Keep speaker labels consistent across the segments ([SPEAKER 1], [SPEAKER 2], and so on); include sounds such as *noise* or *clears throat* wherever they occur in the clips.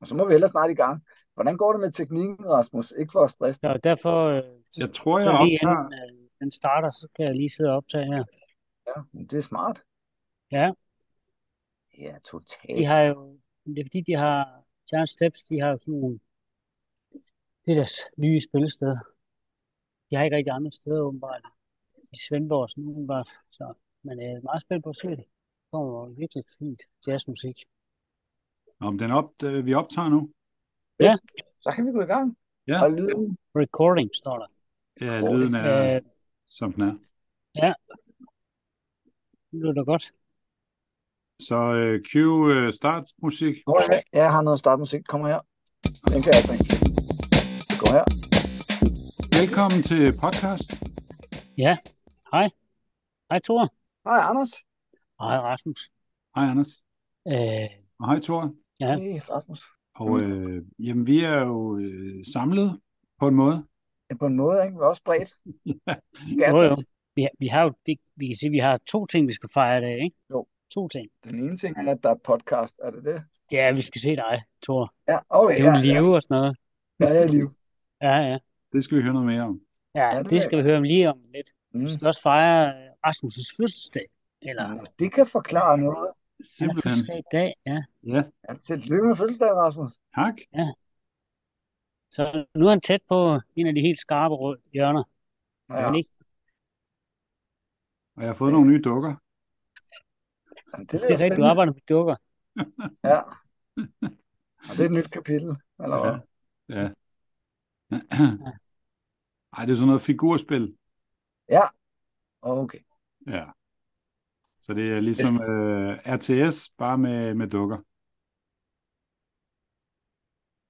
[SPEAKER 1] Og så må vi ellers snart i gang. Hvordan går det med teknikken, Rasmus? Ikke for at stresse
[SPEAKER 2] Så derfor, øh,
[SPEAKER 3] Jeg tror,
[SPEAKER 2] så
[SPEAKER 3] jeg
[SPEAKER 2] lige
[SPEAKER 3] optager.
[SPEAKER 2] inden øh, den starter, så kan jeg lige sidde og optage her.
[SPEAKER 1] dig. Men det er smart.
[SPEAKER 2] Ja.
[SPEAKER 1] Ja,
[SPEAKER 2] De
[SPEAKER 1] totalt.
[SPEAKER 2] har jo, men det er fordi, de har, Giant Steps, de har jo sådan nogle, det er deres nye spillested. De har ikke rigtig andre steder åbenbart i Svendborg og sådan åbenbart. Så, men jeg er meget spændt på at se det. Det kommer virkelig fint jazzmusik.
[SPEAKER 3] Nå, men den op, øh, vi optager nu.
[SPEAKER 1] Så kan vi gå i gang.
[SPEAKER 3] Ja.
[SPEAKER 1] Og lyden.
[SPEAKER 2] Recording står der.
[SPEAKER 3] Ja,
[SPEAKER 1] Cool.
[SPEAKER 3] lyden er,
[SPEAKER 2] Øh,
[SPEAKER 3] som den er.
[SPEAKER 2] det lyder godt.
[SPEAKER 3] Så øh, cue øh, startmusik.
[SPEAKER 1] Hvor er det? Ja, jeg har noget startmusik. Kom her. Den kan jeg ikke bringe. Gå her.
[SPEAKER 3] Velkommen til podcast.
[SPEAKER 2] Hej Thor.
[SPEAKER 1] Hej, Anders.
[SPEAKER 2] Og hej Rasmus.
[SPEAKER 3] Hej Anders.
[SPEAKER 2] Øh,
[SPEAKER 3] Og hej Thor.
[SPEAKER 2] Ja.
[SPEAKER 1] Hey, Rasmus.
[SPEAKER 3] Og
[SPEAKER 2] Mm.
[SPEAKER 3] øh, jamen, vi er jo øh, samlet på en måde.
[SPEAKER 1] Ja, på en måde, ikke? Vi er også bredt. Ja,
[SPEAKER 2] jo, jo. Vi, har- vi har jo, det, vi kan sige, vi har to ting, vi skal fejre i dag, ikke?
[SPEAKER 1] Jo.
[SPEAKER 2] To ting.
[SPEAKER 1] Den ene ting er, at der er podcast. Er det det?
[SPEAKER 2] Ja, vi skal se dig, Thor.
[SPEAKER 1] Ja, okay.
[SPEAKER 2] Det er jo
[SPEAKER 1] ja, ja.
[SPEAKER 2] live og sådan noget.
[SPEAKER 1] Ja, jeg er live.
[SPEAKER 2] Ja, ja.
[SPEAKER 3] Det skal vi høre noget mere om.
[SPEAKER 2] Ja,
[SPEAKER 1] Ja, det
[SPEAKER 2] det
[SPEAKER 1] er-
[SPEAKER 2] skal vi høre om lige om lidt. Vi
[SPEAKER 1] Mm.
[SPEAKER 2] skal også fejre øh, Rasmus' fødselsdag. Eller
[SPEAKER 1] Nå, Det kan forklare noget.
[SPEAKER 2] han har
[SPEAKER 3] Simpelthen.
[SPEAKER 2] fødselsdag i dag, ja.
[SPEAKER 3] Ja,
[SPEAKER 1] Ja, tillykke med fødselsdagen, Rasmus.
[SPEAKER 3] tak.
[SPEAKER 2] Så nu er han tæt på en af de helt skarpe rød- hjørner.
[SPEAKER 1] Ja,
[SPEAKER 2] Ja. Han ikke?
[SPEAKER 3] Og jeg har fået nogle nye dukker.
[SPEAKER 1] det
[SPEAKER 2] Det er
[SPEAKER 1] lyder
[SPEAKER 2] rigtigt, du
[SPEAKER 1] spændende.
[SPEAKER 2] arbejder med dukker.
[SPEAKER 1] Ja. Og det er et nyt kapitel, eller hvad?
[SPEAKER 3] Ja. ja. *clears throat* Ej, det er sådan noget figurspil.
[SPEAKER 1] Oh, Okay.
[SPEAKER 3] Ja. Så det er ligesom øh, RTS, bare med, med dukker.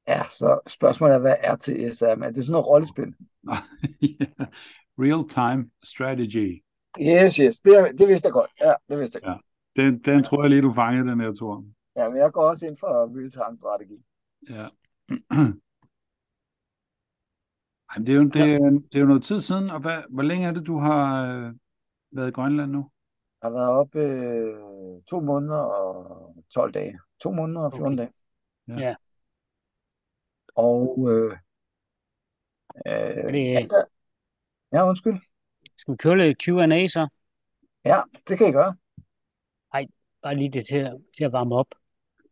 [SPEAKER 1] Ja, så spørgsmålet er, hvad RTS er, men er det sådan noget rollespil?
[SPEAKER 3] Ja. *laughs* Real time strategy.
[SPEAKER 1] Yes, yes, det, er- det vidste jeg godt. Ja, det vidste jeg godt.
[SPEAKER 3] Den, den tror jeg lige, du fangede, den her, Thor.
[SPEAKER 1] Ja, men jeg går også ind for real-time strategi.
[SPEAKER 3] Ja. Ej, men det, er jo, det, er, det er jo noget tid siden, og hvad, hvor længe er det, du har øh, været i Grønland nu?
[SPEAKER 1] Jeg har været oppe øh, to måneder og 12 dage. To måneder og 14
[SPEAKER 2] Okay.
[SPEAKER 1] dage.
[SPEAKER 3] Ja.
[SPEAKER 2] Ja.
[SPEAKER 1] Og øh, øh,
[SPEAKER 2] det-
[SPEAKER 1] ja, der- ja, undskyld.
[SPEAKER 2] Skal vi køre lidt Q&A så?
[SPEAKER 1] Ja, det kan I gøre.
[SPEAKER 2] Bare lige det til, at- til at varme op.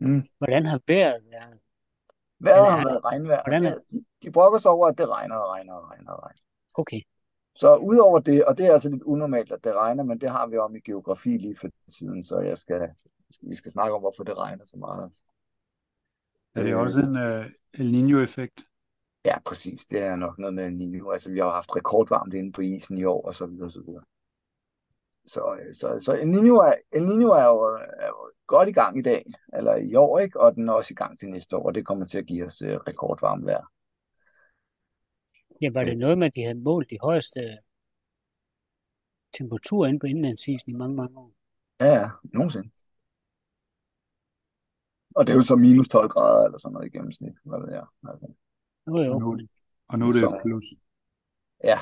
[SPEAKER 1] Mm.
[SPEAKER 2] Hvordan har vejret været?
[SPEAKER 1] Vejret har
[SPEAKER 2] Men er-
[SPEAKER 1] været regnvejr.
[SPEAKER 2] hvordan er-
[SPEAKER 1] Det- De, de brokker sig over, at det regner og regner og regner og regner.
[SPEAKER 2] Okay,
[SPEAKER 1] Så udover det, og det er altså lidt unormalt, at det regner, men det har vi om i geografi lige for tiden, så jeg skal, vi skal snakke om, hvorfor det regner så meget.
[SPEAKER 3] Er det
[SPEAKER 1] Øh.
[SPEAKER 3] også en øh, El Niño-effekt?
[SPEAKER 1] Ja, præcis. Det er nok noget med en Niño. Altså, vi har jo haft rekordvarmt inde på isen i år, og så videre, og så videre. Så, øh, så, så El Niño er, El Niño er, jo, er jo godt i gang i dag, eller i år, ikke? Og den er også i gang til næste år, og det kommer til at give os øh, rekordvarmt vejr.
[SPEAKER 2] ja, var det noget med, at de havde målt de højeste øh, temperaturer inde på indlandsisen i mange, mange år?
[SPEAKER 1] Ja, ja, nogensinde. Og det er jo så minus 12 grader eller sådan noget i gennemsnit, hvad ved jeg. Altså,
[SPEAKER 2] Jo, jo.
[SPEAKER 3] Nu- Og nu er det
[SPEAKER 1] Så-
[SPEAKER 3] plus.
[SPEAKER 1] ja,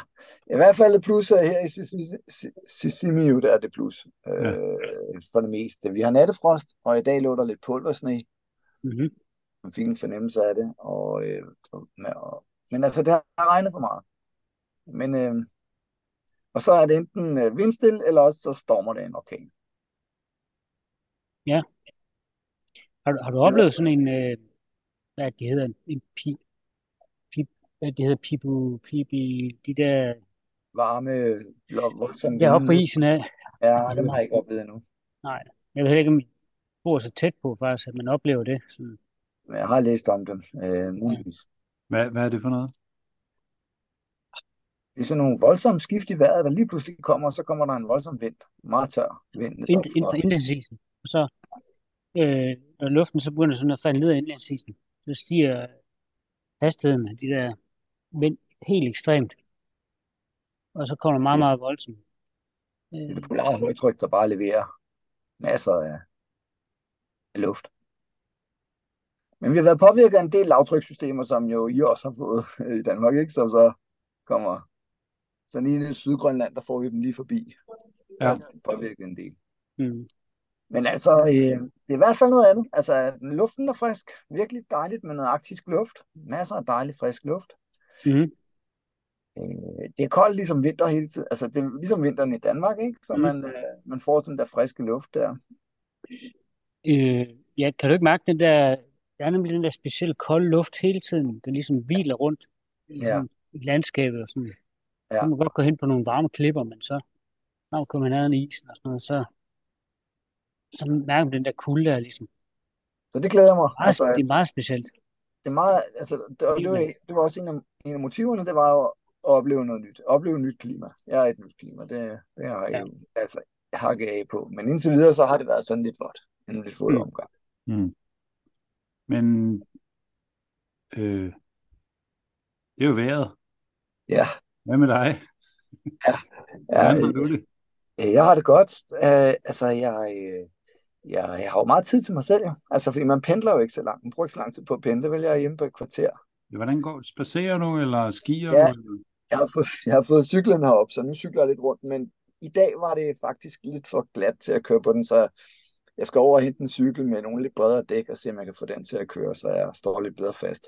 [SPEAKER 1] i hvert fald et plus øh, her i Sisimiu, der er det plus øh,
[SPEAKER 3] Ja.
[SPEAKER 1] for det meste. Vi har nattefrost, og i dag lå der lidt pulversne.
[SPEAKER 2] Mm-hmm.
[SPEAKER 1] Man fik en fornemmelse af det. Og, øh, og, og, men altså, det har regnet for meget. Men, øh, og så er det enten øh, vindstil, eller også så stormer det en orkan.
[SPEAKER 2] Har, du- har du oplevet sådan en, øh, hvad er det, de hedder, en pi, pi, hvad er det, de hedder, pibu, pibi, de der,
[SPEAKER 1] Varme, lov, som
[SPEAKER 2] der er oppe på isen af.
[SPEAKER 1] Ja, dem har jeg ikke oplevet endnu.
[SPEAKER 2] Jeg ved ikke, om I bor så tæt på faktisk, at man oplever det. Sådan,
[SPEAKER 1] Men jeg har læst om dem, øh, muligvis.
[SPEAKER 3] Hvad, hvad er det for noget?
[SPEAKER 1] Det er sådan nogle voldsomme skift i vejret, der lige pludselig kommer, og så kommer der en voldsom vind. Meget tør vind.
[SPEAKER 2] ind, ind
[SPEAKER 1] fra-
[SPEAKER 2] for indlandsisen. Og så, øh, når luften så begynder sådan at falde ned af indlandsisen, så stiger hastigheden af de der vind helt ekstremt. Og så kommer der meget, meget voldsomt.
[SPEAKER 1] Det er
[SPEAKER 2] Øh,
[SPEAKER 1] det polare højtryk, der bare leverer masser af, af luft. Men vi har været påvirket af en del lavtrykssystemer, som jo I også har fået øh, i Danmark, ikke? som så kommer. Så lige i Sydgrønland, der får vi dem lige forbi.
[SPEAKER 3] Ja.
[SPEAKER 1] Der er påvirket en del.
[SPEAKER 2] mm.
[SPEAKER 1] Men altså, øh, det er i hvert fald noget andet. Altså, luften er frisk. Virkelig dejligt med noget arktisk luft. Masser af dejlig frisk luft.
[SPEAKER 2] Mhm.
[SPEAKER 1] Øh, det er koldt ligesom vinter hele tiden. Altså, det er ligesom vinteren i Danmark, ikke? Så
[SPEAKER 2] Mhm.
[SPEAKER 1] man, øh, man får sådan der friske luft der.
[SPEAKER 2] Øh, ja, kan du ikke mærke den der, der er nemlig den der specielle kolde luft hele tiden, den ligesom hviler rundt i,
[SPEAKER 1] Ja,
[SPEAKER 2] sådan, i landskabet og sådan. Så
[SPEAKER 1] ja.
[SPEAKER 2] kan man godt gå hen på nogle varme klipper, men så når man kommer ned i isen og sådan noget, så, så mærker man den der kulde der er ligesom.
[SPEAKER 1] Så det glæder jeg mig.
[SPEAKER 2] Meget,
[SPEAKER 1] Altså,
[SPEAKER 2] Ah, det er meget specielt.
[SPEAKER 1] det er meget, altså, det, og det, var,
[SPEAKER 2] Klima.
[SPEAKER 1] det var også en af, en af motiverne, det var jo at opleve noget nyt. Opleve nyt klima. Jeg er et nyt klima, det, det har jeg
[SPEAKER 2] Ja.
[SPEAKER 1] jo altså, hakket af på. Men indtil videre, så har det været sådan lidt vådt. En lidt våd
[SPEAKER 2] Mm.
[SPEAKER 1] omgang.
[SPEAKER 3] Mm. Men øh, det er jo vejret.
[SPEAKER 1] Ja,
[SPEAKER 3] Hvad med dig?
[SPEAKER 1] ja,
[SPEAKER 3] Hvordan har du det?
[SPEAKER 1] øh, jeg har det godt. Øh, altså, jeg, øh, jeg, jeg har jo meget tid til mig selv, jo. Altså, fordi man pendler jo ikke så langt. Man bruger ikke så lang tid på at pendle, vel? Jeg er hjemme på et kvarter.
[SPEAKER 3] Hvordan går Spacerer du, eller skier
[SPEAKER 1] Ja,
[SPEAKER 3] du? eller-
[SPEAKER 1] Jeg har fået, jeg har fået cyklen herop, så nu cykler jeg lidt rundt, men i dag var det faktisk lidt for glat til at køre på den, så jeg skal over og hente en cykel med nogle lidt bredere dæk og se, om jeg kan få den til at køre, så jeg står lidt bedre fast.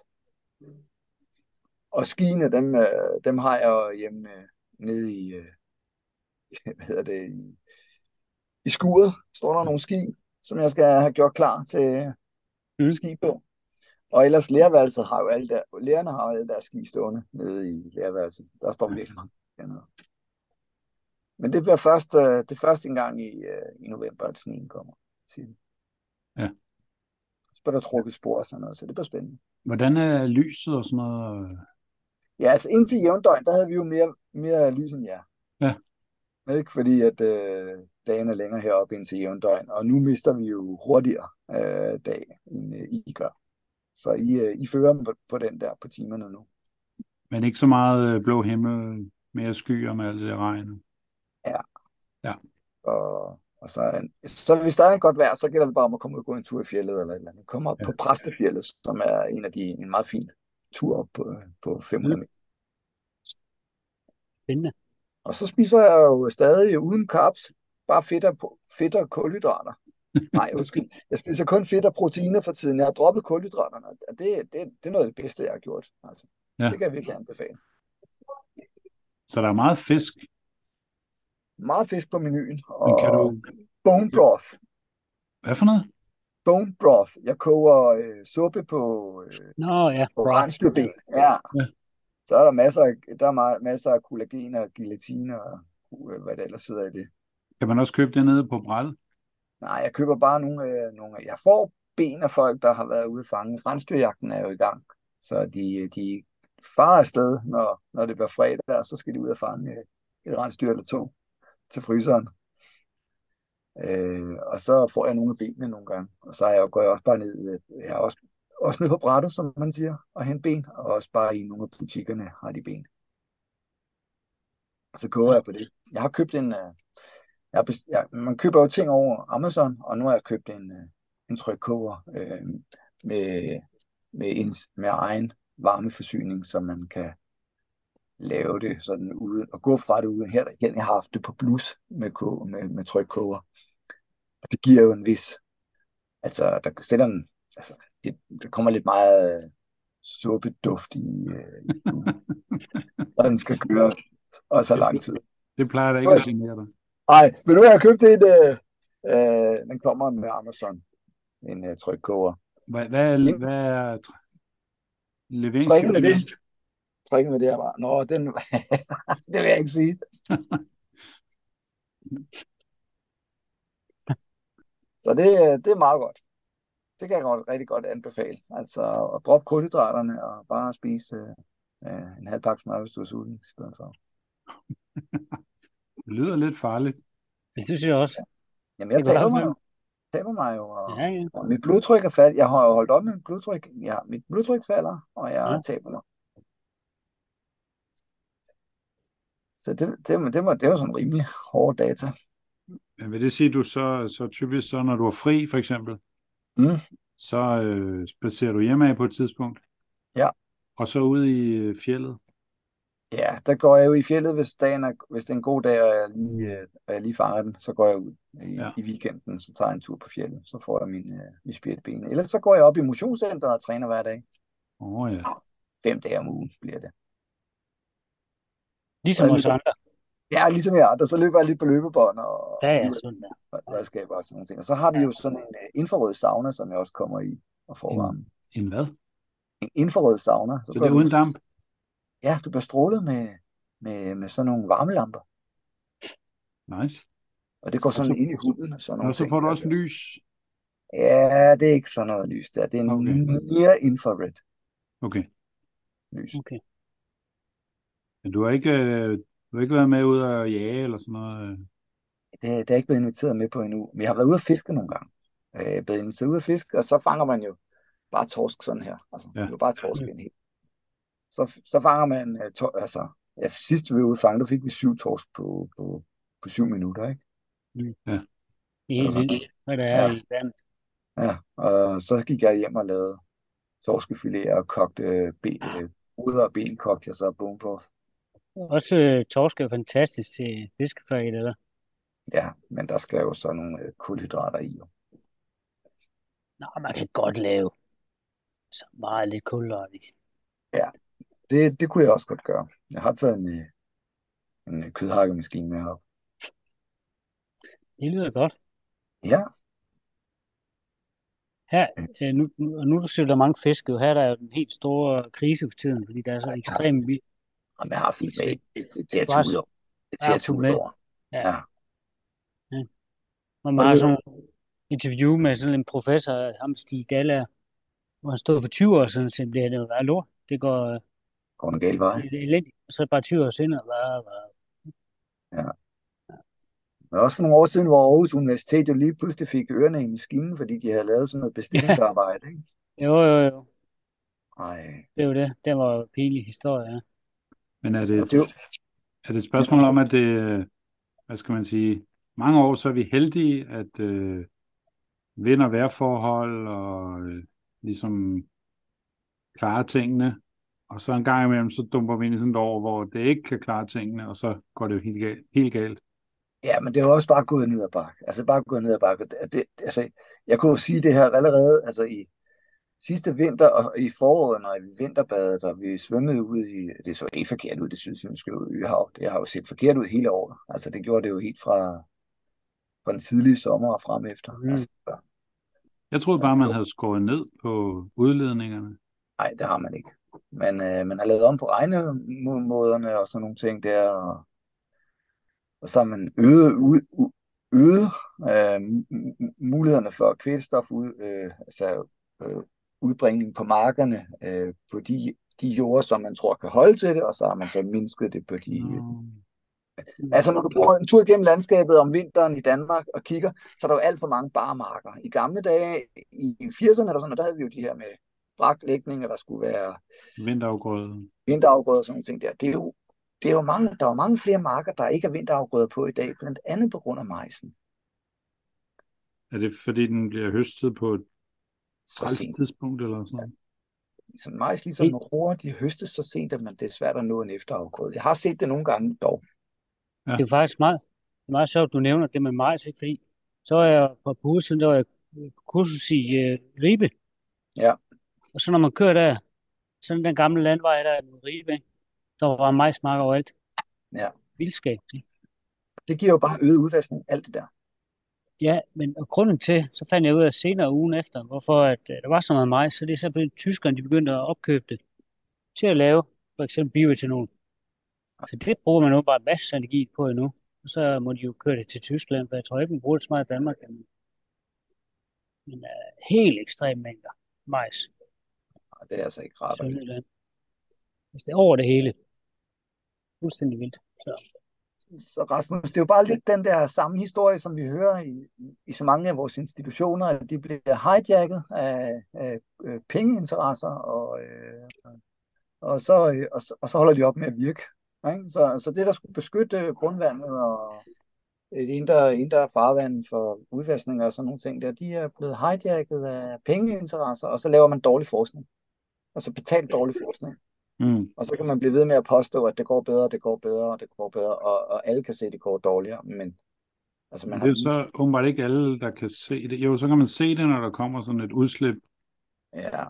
[SPEAKER 1] Og skiene, dem, øh, dem har jeg jo hjemme øh, nede i, øh, *laughs* hvad hedder det, i, i skuret, står der nogle ski, som jeg skal have gjort klar til
[SPEAKER 2] Mm.
[SPEAKER 1] ski på. Og ellers lærerværelset har jo alle der, lærerne har jo alle deres ski stående nede i lærerværelset. Der står virkelig mange ski dernede. Men det bliver først, øh, det er først en gang i, øh, i november, at sneen kommer. siger de.
[SPEAKER 3] Ja.
[SPEAKER 1] Så bliver der trukket spor og sådan noget, så det bliver spændende.
[SPEAKER 3] Hvordan er lyset og sådan noget?
[SPEAKER 1] Ja, altså indtil jævndøgn, der havde vi jo mere, mere lys end jer.
[SPEAKER 3] Ja.
[SPEAKER 1] Ikke? Fordi at øh, dagen er længere heroppe indtil jævndøgn, og nu mister vi jo hurtigere øh, dag, end øh, I gør. Så I, øh, I fører dem på, på den der på timerne nu.
[SPEAKER 3] Men ikke så meget øh, blå himmel, mere skyer med alt det der regn.
[SPEAKER 1] Ja.
[SPEAKER 3] Ja.
[SPEAKER 1] Og, og så, er- så hvis der er godt vejr, så gælder det bare om at komme ud og gå en tur i fjellet eller et eller andet. Kom op
[SPEAKER 3] Ja.
[SPEAKER 1] på Præstefjellet, som er en af de en meget fin tur op på, øh, på 500 meter.
[SPEAKER 2] Spændende.
[SPEAKER 1] Og så spiser jeg jo stadig uden carbs, bare fedt og, po- fedt og
[SPEAKER 3] *laughs*
[SPEAKER 1] kulhydrater. Nej, undskyld. Jeg spiser kun fedt og proteiner for tiden. Jeg har droppet kulhydraterne, og det, det, det er noget af det bedste, jeg har gjort. Altså,
[SPEAKER 3] Ja.
[SPEAKER 1] Det kan jeg virkelig anbefale.
[SPEAKER 3] Så der er meget fisk.
[SPEAKER 1] Meget fisk på menuen,
[SPEAKER 3] Men kan
[SPEAKER 1] og
[SPEAKER 3] du...
[SPEAKER 1] bone broth.
[SPEAKER 3] Hvad for noget?
[SPEAKER 1] Bone broth. Jeg koger øh, suppe på øh,
[SPEAKER 2] Nå ja, broth. Ja.
[SPEAKER 1] Oranjeben, ja.
[SPEAKER 3] Ja.
[SPEAKER 1] Så er der masser af, der er meget, masser af kollagen og gelatine og øh, hvad der ellers sidder i det.
[SPEAKER 3] Kan man også købe det nede på bræt?
[SPEAKER 1] Nej, jeg køber bare nogle, øh, nogle jeg får ben af folk, der har været ude at fange. Rensdyrjagten er jo i gang, så de, de farer afsted, når, når det bliver fredag, og så skal de ud og fange øh, et rensdyr eller to til fryseren. Øh, og så får jeg nogle af benene nogle gange, og så er jeg, jo- går jeg også bare ned, øh, jeg er også, også ned på brættet, som man siger, og hente ben, og også bare i nogle af butikkerne har de ben. Og så koger jeg på det. Jeg har købt en, øh, jeg har best- jeg, man køber jo ting over Amazon, og nu har jeg købt en, øh, en trykkoger øh, med, med, ens, med egen varmeforsyning, så man kan lave det sådan uden, og gå fra det uden. Her igen, jeg har haft det på plus med, ko- med, med trykkoger. Og det giver jo en vis, altså der sætter en, altså det, der kommer lidt meget øh, suppeduft i, øh, i buen, og den skal køre og så lang tid.
[SPEAKER 3] Det plejer da ikke at genere dig.
[SPEAKER 1] Ej, vil du have købt en, øh, øh, den kommer med Amazon, en øh, trykkoger.
[SPEAKER 3] Hvad, hvad, er- hvad er tr-
[SPEAKER 1] Trikken med det,
[SPEAKER 3] leveringsgebyret?
[SPEAKER 1] trikken med det her var, nå, den, *laughs* det vil jeg ikke sige. Så det, øh, det er meget godt. Det kan jeg godt, rigtig godt anbefale. Altså at droppe kulhydraterne og bare spise øh, en halv pakke smør, hvis du er sulten i stedet for.
[SPEAKER 3] Det lyder lidt farligt.
[SPEAKER 2] Det synes jeg også.
[SPEAKER 1] Jamen, jeg
[SPEAKER 2] Det kan
[SPEAKER 1] taber
[SPEAKER 2] godt
[SPEAKER 1] mig
[SPEAKER 2] være.
[SPEAKER 1] jo. taber mig jo, og,
[SPEAKER 2] Ja, ja.
[SPEAKER 1] og mit blodtryk er faldet. Jeg har jo holdt op med mit blodtryk. Ja, mit blodtryk falder, og jeg
[SPEAKER 2] Ja.
[SPEAKER 1] taber mig. Så det, det, det, det, var, det var sådan rimelig hårde data.
[SPEAKER 3] Men vil det sige, at du så, så typisk, så når du er fri for eksempel,
[SPEAKER 1] Mm.
[SPEAKER 3] så øh, spacerer du hjemad på et tidspunkt?
[SPEAKER 1] Ja.
[SPEAKER 3] Og så ud i øh, fjellet?
[SPEAKER 1] Ja, der går jeg jo i fjellet, hvis, dagen er, hvis det er en god dag, og jeg lige, øh, og jeg lige fanger den, så går jeg ud i,
[SPEAKER 3] Ja.
[SPEAKER 1] i weekenden, så tager jeg en tur på fjellet, så får jeg min, øh, min spjælben. Ellers så går jeg op i motionscenteret og træner hver dag.
[SPEAKER 3] Åh oh, ja.
[SPEAKER 1] Fem dage om ugen bliver det.
[SPEAKER 2] Ligesom
[SPEAKER 1] Ja,
[SPEAKER 2] os
[SPEAKER 1] ligesom-
[SPEAKER 2] andre.
[SPEAKER 1] Ja, ligesom jeg, der så løber jeg lidt på løbebånd og
[SPEAKER 2] Ja, ja,
[SPEAKER 1] ud
[SPEAKER 2] sådan der.
[SPEAKER 1] af redskaber og sådan nogle ting. Og så har vi
[SPEAKER 2] Ja.
[SPEAKER 1] jo sådan en øh, infrarød sauna, som jeg også kommer i og får varme.
[SPEAKER 3] En, en hvad?
[SPEAKER 1] En infrarød sauna, så,
[SPEAKER 3] Mm. Så
[SPEAKER 1] bliver
[SPEAKER 3] det er uden
[SPEAKER 1] du,
[SPEAKER 3] damp?
[SPEAKER 1] ja, du bliver strålet med, med, med sådan nogle varmelamper,
[SPEAKER 3] Nice.
[SPEAKER 1] og det går
[SPEAKER 3] Og
[SPEAKER 1] sådan
[SPEAKER 3] så-
[SPEAKER 1] ind i huden og sådan nogle
[SPEAKER 3] Og så
[SPEAKER 1] ting.
[SPEAKER 3] får du
[SPEAKER 1] der.
[SPEAKER 3] også lys.
[SPEAKER 1] Ja, det er ikke sådan noget lys der. Det er
[SPEAKER 3] Okay.
[SPEAKER 1] near infrared
[SPEAKER 3] Okay.
[SPEAKER 1] lys.
[SPEAKER 2] Okay.
[SPEAKER 3] Men du har ikke, øh, du har ikke været med ud og jage eller sådan noget? øh?
[SPEAKER 1] Det, det er jeg ikke blevet inviteret med på endnu. Men jeg har været ude at fiske nogle gange. Øh, Jeg er blevet inviteret ud at fiske, og så fanger man jo bare torsk sådan her. Altså,
[SPEAKER 3] Ja.
[SPEAKER 1] det er jo bare torsk en hel. Så, så fanger man, øh, to, altså, ja, sidst vi var ude at fange, der fik vi syv torsk på, på, på syv minutter, ikke?
[SPEAKER 3] Ja.
[SPEAKER 2] Det er helt
[SPEAKER 1] Altså,
[SPEAKER 2] vildt, hvad der er
[SPEAKER 1] ja.
[SPEAKER 2] i vandet.
[SPEAKER 1] Ja, og så gik jeg hjem og lavede torskefiléer og kogte øh, ben, øh, hoveder og ben kogte jeg så bone på.
[SPEAKER 2] Også øh, torsk er fantastisk til fiskefaget, eller?
[SPEAKER 1] Ja, men der skal jo så nogle øh, kulhydrater i. Jo.
[SPEAKER 2] Nå, man kan godt lave så meget lidt kulhydrater. i.
[SPEAKER 1] Det, det kunne jeg også godt gøre. Jeg har taget en, øh, en øh, kødhakkemaskine med op.
[SPEAKER 2] Det lyder godt.
[SPEAKER 1] Ja,
[SPEAKER 2] Her, øh, nu, nu, og nu du siger, der er mange fisk, jo. her er der jo den helt store krise for tiden, fordi der er så ekstremt vildt.
[SPEAKER 1] og man har haft det med det- det til at
[SPEAKER 2] Du har
[SPEAKER 1] tude over. Det er til
[SPEAKER 2] har
[SPEAKER 1] at
[SPEAKER 2] haft det
[SPEAKER 1] tude
[SPEAKER 2] med.
[SPEAKER 1] over.
[SPEAKER 2] Ja.
[SPEAKER 1] Ja.
[SPEAKER 2] Og man
[SPEAKER 1] Og
[SPEAKER 2] har
[SPEAKER 1] det,
[SPEAKER 2] sådan nogle interview med sådan en professor, ham Stig Dallager, hvor han stod for 20 år siden, og sagde, det her, det er jo bare lort. Det går øh,
[SPEAKER 1] går en gal vej.
[SPEAKER 2] det er elendigt. Og så er det bare 20 år senere, bare, bare.
[SPEAKER 1] Men også for nogle år siden, hvor Aarhus Universitet jo lige pludselig fik ørerne i maskinen, fordi de havde lavet sådan noget
[SPEAKER 2] Ja,
[SPEAKER 1] bestillingsarbejde. Ikke?
[SPEAKER 2] jo, jo, jo.
[SPEAKER 1] Ej.
[SPEAKER 2] Det er jo det. Det var jo en pinlig historie, ja.
[SPEAKER 3] Men er det
[SPEAKER 1] Og
[SPEAKER 3] et,
[SPEAKER 1] det, er jo-
[SPEAKER 3] er det et spørgsmål om, at det, øh, hvad skal man sige, mange år så er vi heldige, at øh, vind- og vejrforhold og øh, ligesom klare tingene, og så en gang imellem, så dumper vi ind i sådan et år, hvor det ikke kan klare tingene, og så går det jo helt galt. Helt galt.
[SPEAKER 1] Ja, men det er jo også bare gået ned ad bakke. Altså bare gået ned ad bakke. Det, det, altså, jeg kunne jo sige det her allerede altså i sidste vinter og i foråret, når vi vinterbadede, og vi svømmede ud i, det så helt forkert ud, det sydsynske øhav. Det har jo set forkert ud hele året. Altså det gjorde det jo helt fra, fra den tidlige sommer og frem efter.
[SPEAKER 2] Mm.
[SPEAKER 1] Altså, så-
[SPEAKER 3] Jeg troede bare, man havde skåret ned på udledningerne.
[SPEAKER 1] nej, det har man ikke. Men øh, man har lavet om på regnemåderne og sådan nogle ting der, og, og så har man øget, ud, u- øget øh, mu- mu- mulighederne for kvælstof, ud, øh, altså øh, udbringning på markerne, øh, på de, de jorder, som man tror kan holde til det, og så har man så mindsket det på de... Øh.
[SPEAKER 2] Mm.
[SPEAKER 1] Altså, når du går en tur gennem landskabet om vinteren i Danmark og kigger, så er der jo alt for mange barmarker. I gamle dage, i 80'erne, eller sådan, noget, der havde vi jo de her med braklægninger, der skulle være
[SPEAKER 3] Vinterafgrøden.
[SPEAKER 1] vinterafgrøder og sådan nogle ting der. Det er jo, det er jo mange, der er jo mange flere marker, der ikke er vinterafgrøder på i dag, blandt andet på grund af majsen.
[SPEAKER 3] Er det, fordi den bliver høstet på et
[SPEAKER 1] Så
[SPEAKER 3] træls
[SPEAKER 1] sent.
[SPEAKER 3] tidspunkt eller sådan noget?
[SPEAKER 1] Ligesom majs, ligesom
[SPEAKER 2] Helt,
[SPEAKER 1] med roer, de høstes så sent, at man, det er svært at nå en efterafgrøde. Jeg har set det nogle gange dog.
[SPEAKER 2] det er faktisk meget, det er meget sjovt, du nævner det med majs, ikke? Fordi så er jeg på på uger siden, der var jeg på kursus i øh, Ribe,
[SPEAKER 1] Ja,
[SPEAKER 2] og så når man kører der, sådan den gamle landvej der i Ribe, ikke? der var majsmarker overalt.
[SPEAKER 1] ja.
[SPEAKER 2] Vildskab. ikke?
[SPEAKER 1] Det giver jo bare øget udvaskning, alt det der.
[SPEAKER 2] Ja, men og grunden til, så fandt jeg ud af senere ugen efter, hvorfor at, øh, der var så meget majs, så det er så blevet tyskerne, de begyndte at opkøbe det til at lave for eksempel bioetanol. Så det bruger man jo bare masser af energi på endnu. Og så må de jo køre det til Tyskland, for jeg tror ikke, man bruger det så meget i Danmark. Men, men uh, helt ekstreme mængder majs
[SPEAKER 1] Og det er altså ikke
[SPEAKER 2] i
[SPEAKER 1] rart at høre.
[SPEAKER 2] Sønderjylland. Altså, det er over det hele. Fuldstændig vildt. Så,
[SPEAKER 1] Så Rasmus, det er jo bare lidt den der samme historie, som vi hører i, i så mange af vores institutioner, at de bliver hijacket af, af øh, pengeinteresser og, øh, og så, øh, og, så, og så holder de op med at virke. Ikke? Så, så det, der skulle beskytte grundvandet og et indre, indre farvand for udvaskninger og sådan nogle ting, der, de er blevet hijacket af pengeinteresser, og så laver man dårlig forskning. Altså betalt dårlig forskning.
[SPEAKER 3] Mm.
[SPEAKER 1] Og så kan man blive ved med at påstå, at det går bedre, det går bedre, og det går bedre, og, og alle kan se, at det går dårligere, men altså man
[SPEAKER 3] Men
[SPEAKER 1] har
[SPEAKER 3] det er jo så åbenbart ikke alle, der kan se det. Jo, så kan man se det, når der kommer sådan et udslip,
[SPEAKER 1] ja,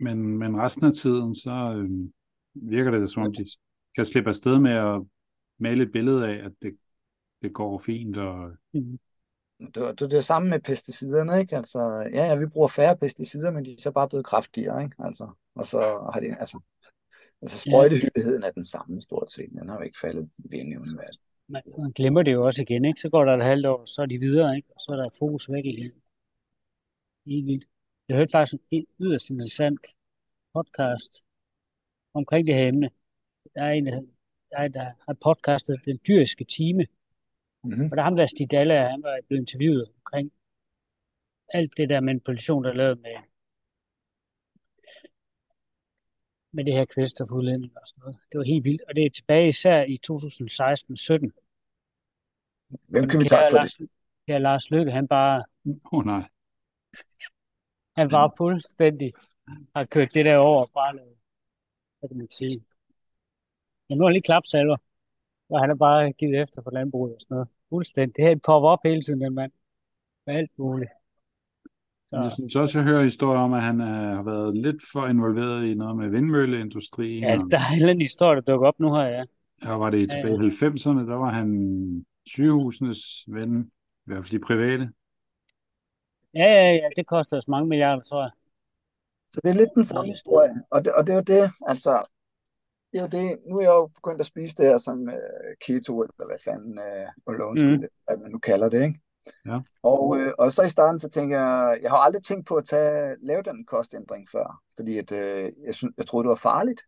[SPEAKER 3] men, men resten af tiden, så øh, virker det, som om de kan slippe afsted med at male et billede af, at det, det går fint, og *laughs*
[SPEAKER 1] det, er- det, er det samme med pesticiderne, ikke? Altså, ja, ja, vi bruger færre pesticider, men de er så bare blevet kraftigere, ikke? Altså, og så har det, altså, altså
[SPEAKER 2] Ja.
[SPEAKER 1] sprøjtehyppigheden er den samme stort set, den har jo ikke faldet ved nævneværdigt.
[SPEAKER 2] Man, man glemmer det jo også igen, ikke? Så går der et halvt år, så er de videre, ikke? Og så er der fokus væk igen. Helt vildt. Jeg hørte faktisk en yderst interessant podcast omkring det her emne. Der er en, der, der, er en, der har podcastet Den Dyriske Time,
[SPEAKER 1] Mhm.
[SPEAKER 2] og der er ham der Stig Dalla, han var blevet interviewet omkring alt det der manipulation, der er lavet med, med det her kvælstofudledning og sådan noget. Det var helt vildt, og det er tilbage især i 2016-17.
[SPEAKER 1] Hvem kan vi takke for det?
[SPEAKER 2] Ja, Lars Løkke, han bare
[SPEAKER 3] åh oh, nej.
[SPEAKER 2] Han
[SPEAKER 1] Mm.
[SPEAKER 2] var fuldstændig har kørt det der over fra noget. Hvad kan man sige? Ja, nu er han lige klapsalver, og han har bare givet efter for landbruget og sådan noget. Fuldstændig. Det her det popper op hele tiden, den mand. Med alt muligt. Så,
[SPEAKER 3] Men jeg synes også, jeg hører historier om, at han øh, har været lidt for involveret i noget med vindmølleindustrien.
[SPEAKER 2] ja,
[SPEAKER 1] Mm.
[SPEAKER 2] der er en eller anden historie, der dukker op nu her, ja.
[SPEAKER 3] Og var det tilbage i
[SPEAKER 2] Ja.
[SPEAKER 3] 90'erne, der var han sygehusenes ven, i hvert fald de private.
[SPEAKER 2] Ja, ja, ja, det koster os mange milliarder, tror jeg.
[SPEAKER 1] Så det er lidt den samme historie, og det, og det er jo det, altså, det er jo det, nu er jeg jo begyndt at spise det her som øh, keto, eller hvad fanden, øh, alone
[SPEAKER 2] Mhm.
[SPEAKER 1] mm. hvad man nu kalder det, ikke?
[SPEAKER 3] Ja.
[SPEAKER 1] Og, øh, og så i starten, så tænker jeg, jeg har aldrig tænkt på at tage, lave den kostændring før, fordi at, øh, jeg, synes, jeg troede, det var farligt.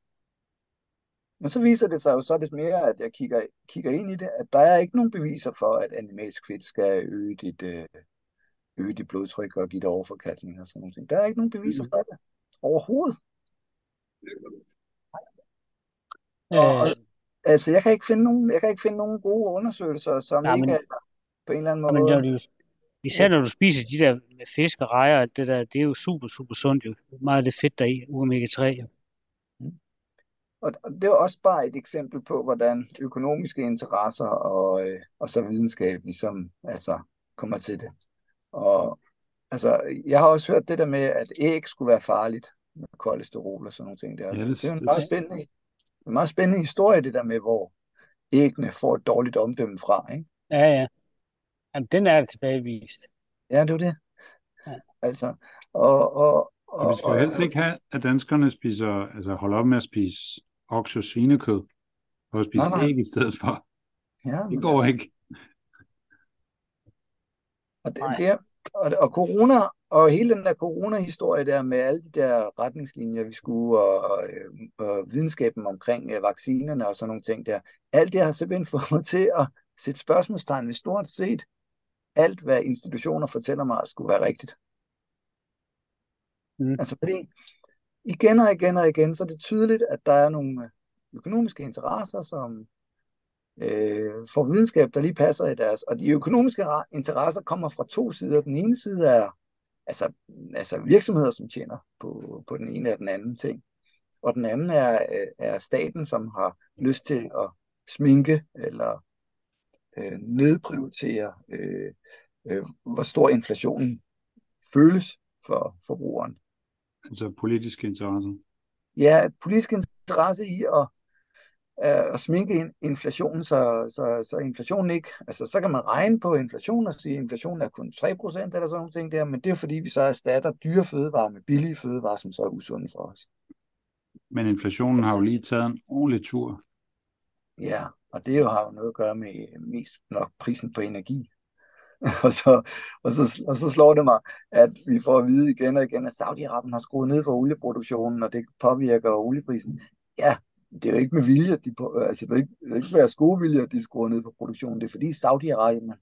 [SPEAKER 1] Men så viser det sig jo så lidt mere, at jeg kigger, kigger ind i det, at der er ikke nogen beviser for, at animalsk fedt skal øge dit, øh, øge dit blodtryk og give dig overforkalkning og sådan noget. Der er ikke nogen beviser
[SPEAKER 2] Mhm.
[SPEAKER 1] for det overhovedet. Og-
[SPEAKER 2] Øh,
[SPEAKER 1] og- Altså, jeg kan ikke finde nogen, jeg kan ikke finde nogen gode undersøgelser, som
[SPEAKER 2] Nej,
[SPEAKER 1] Nej,
[SPEAKER 2] men-
[SPEAKER 1] ikke er på en eller anden
[SPEAKER 2] og men
[SPEAKER 1] måde.
[SPEAKER 2] når du, især når du spiser de der med fisk og rejer og alt det der, det er jo super, super sundt jo. Meget af det fedt der er i, omega-3 jo.
[SPEAKER 1] Og og det er også bare et eksempel på, hvordan økonomiske interesser og, øh, og så videnskab ligesom altså, kommer til det. Og altså, jeg har også hørt det der med, at æg skulle være farligt med kolesterol og sådan nogle ting. Der.
[SPEAKER 3] Ja, det-
[SPEAKER 1] det, er jo en
[SPEAKER 3] det-
[SPEAKER 1] meget spændende, en meget spændende historie, det der med, hvor æggene får et dårligt omdømme fra. Ikke?
[SPEAKER 2] Ja, ja. Jamen, den er tilbagevist.
[SPEAKER 1] Ja, det er jo det.
[SPEAKER 2] Ja.
[SPEAKER 1] Altså, og, og, og,
[SPEAKER 3] Og vi skal jo helst ikke have, at danskerne spiser, altså holder op med at spise okse- og svinekød, og at spise
[SPEAKER 1] Nej, nej.
[SPEAKER 3] æg i stedet for.
[SPEAKER 1] ja, men
[SPEAKER 3] Det går
[SPEAKER 1] altså-
[SPEAKER 3] ikke.
[SPEAKER 1] Og, det,
[SPEAKER 2] Nej.
[SPEAKER 1] det er, og, og corona, og hele den der corona-historie der med alle de der retningslinjer, vi skulle, og, og, øh, og videnskaben omkring øh, vaccinerne og sådan nogle ting der, alt det har simpelthen *laughs* fået mig til at sætte spørgsmålstegn ved stort set alt, hvad institutioner fortæller mig, skulle være rigtigt.
[SPEAKER 2] Mm.
[SPEAKER 1] Altså fordi igen og igen og igen, så er det tydeligt, at der er nogle øh, økonomiske interesser, som øh, får videnskab, der lige passer i deres. Og de økonomiske ra- interesser kommer fra to sider. Den ene side er altså, altså virksomheder, som tjener på, på den ene og den anden ting. Og den anden er, øh, er staten, som har lyst til at sminke eller øh, nedprioritere, øh, øh, hvor stor inflationen føles for forbrugeren.
[SPEAKER 3] Altså politiske interesser.
[SPEAKER 1] Ja, politisk interesse i at, øh, at sminke in- inflationen, så, så, så inflationen ikke... Altså, så kan man regne på inflation og sige, at inflationen er kun 3% eller sådan nogle ting der, men det er fordi, vi så erstatter dyre fødevarer med billige fødevarer, som så er usunde for os.
[SPEAKER 3] Men inflationen har jo lige taget en ordentlig tur.
[SPEAKER 1] Ja, og det jo har jo noget at gøre med øh, mest nok prisen på energi. *laughs* og, så, og, så, og så slår det mig, at vi får at vide igen og igen, at Saudi-Arabien har skruet ned for olieproduktionen, og det påvirker olieprisen. Ja, det er jo ikke med vilje, at de på, altså det er jo ikke, det er jo ikke med deres gode vilje, at de skruer ned for produktionen. Det er fordi Saudi-Arabien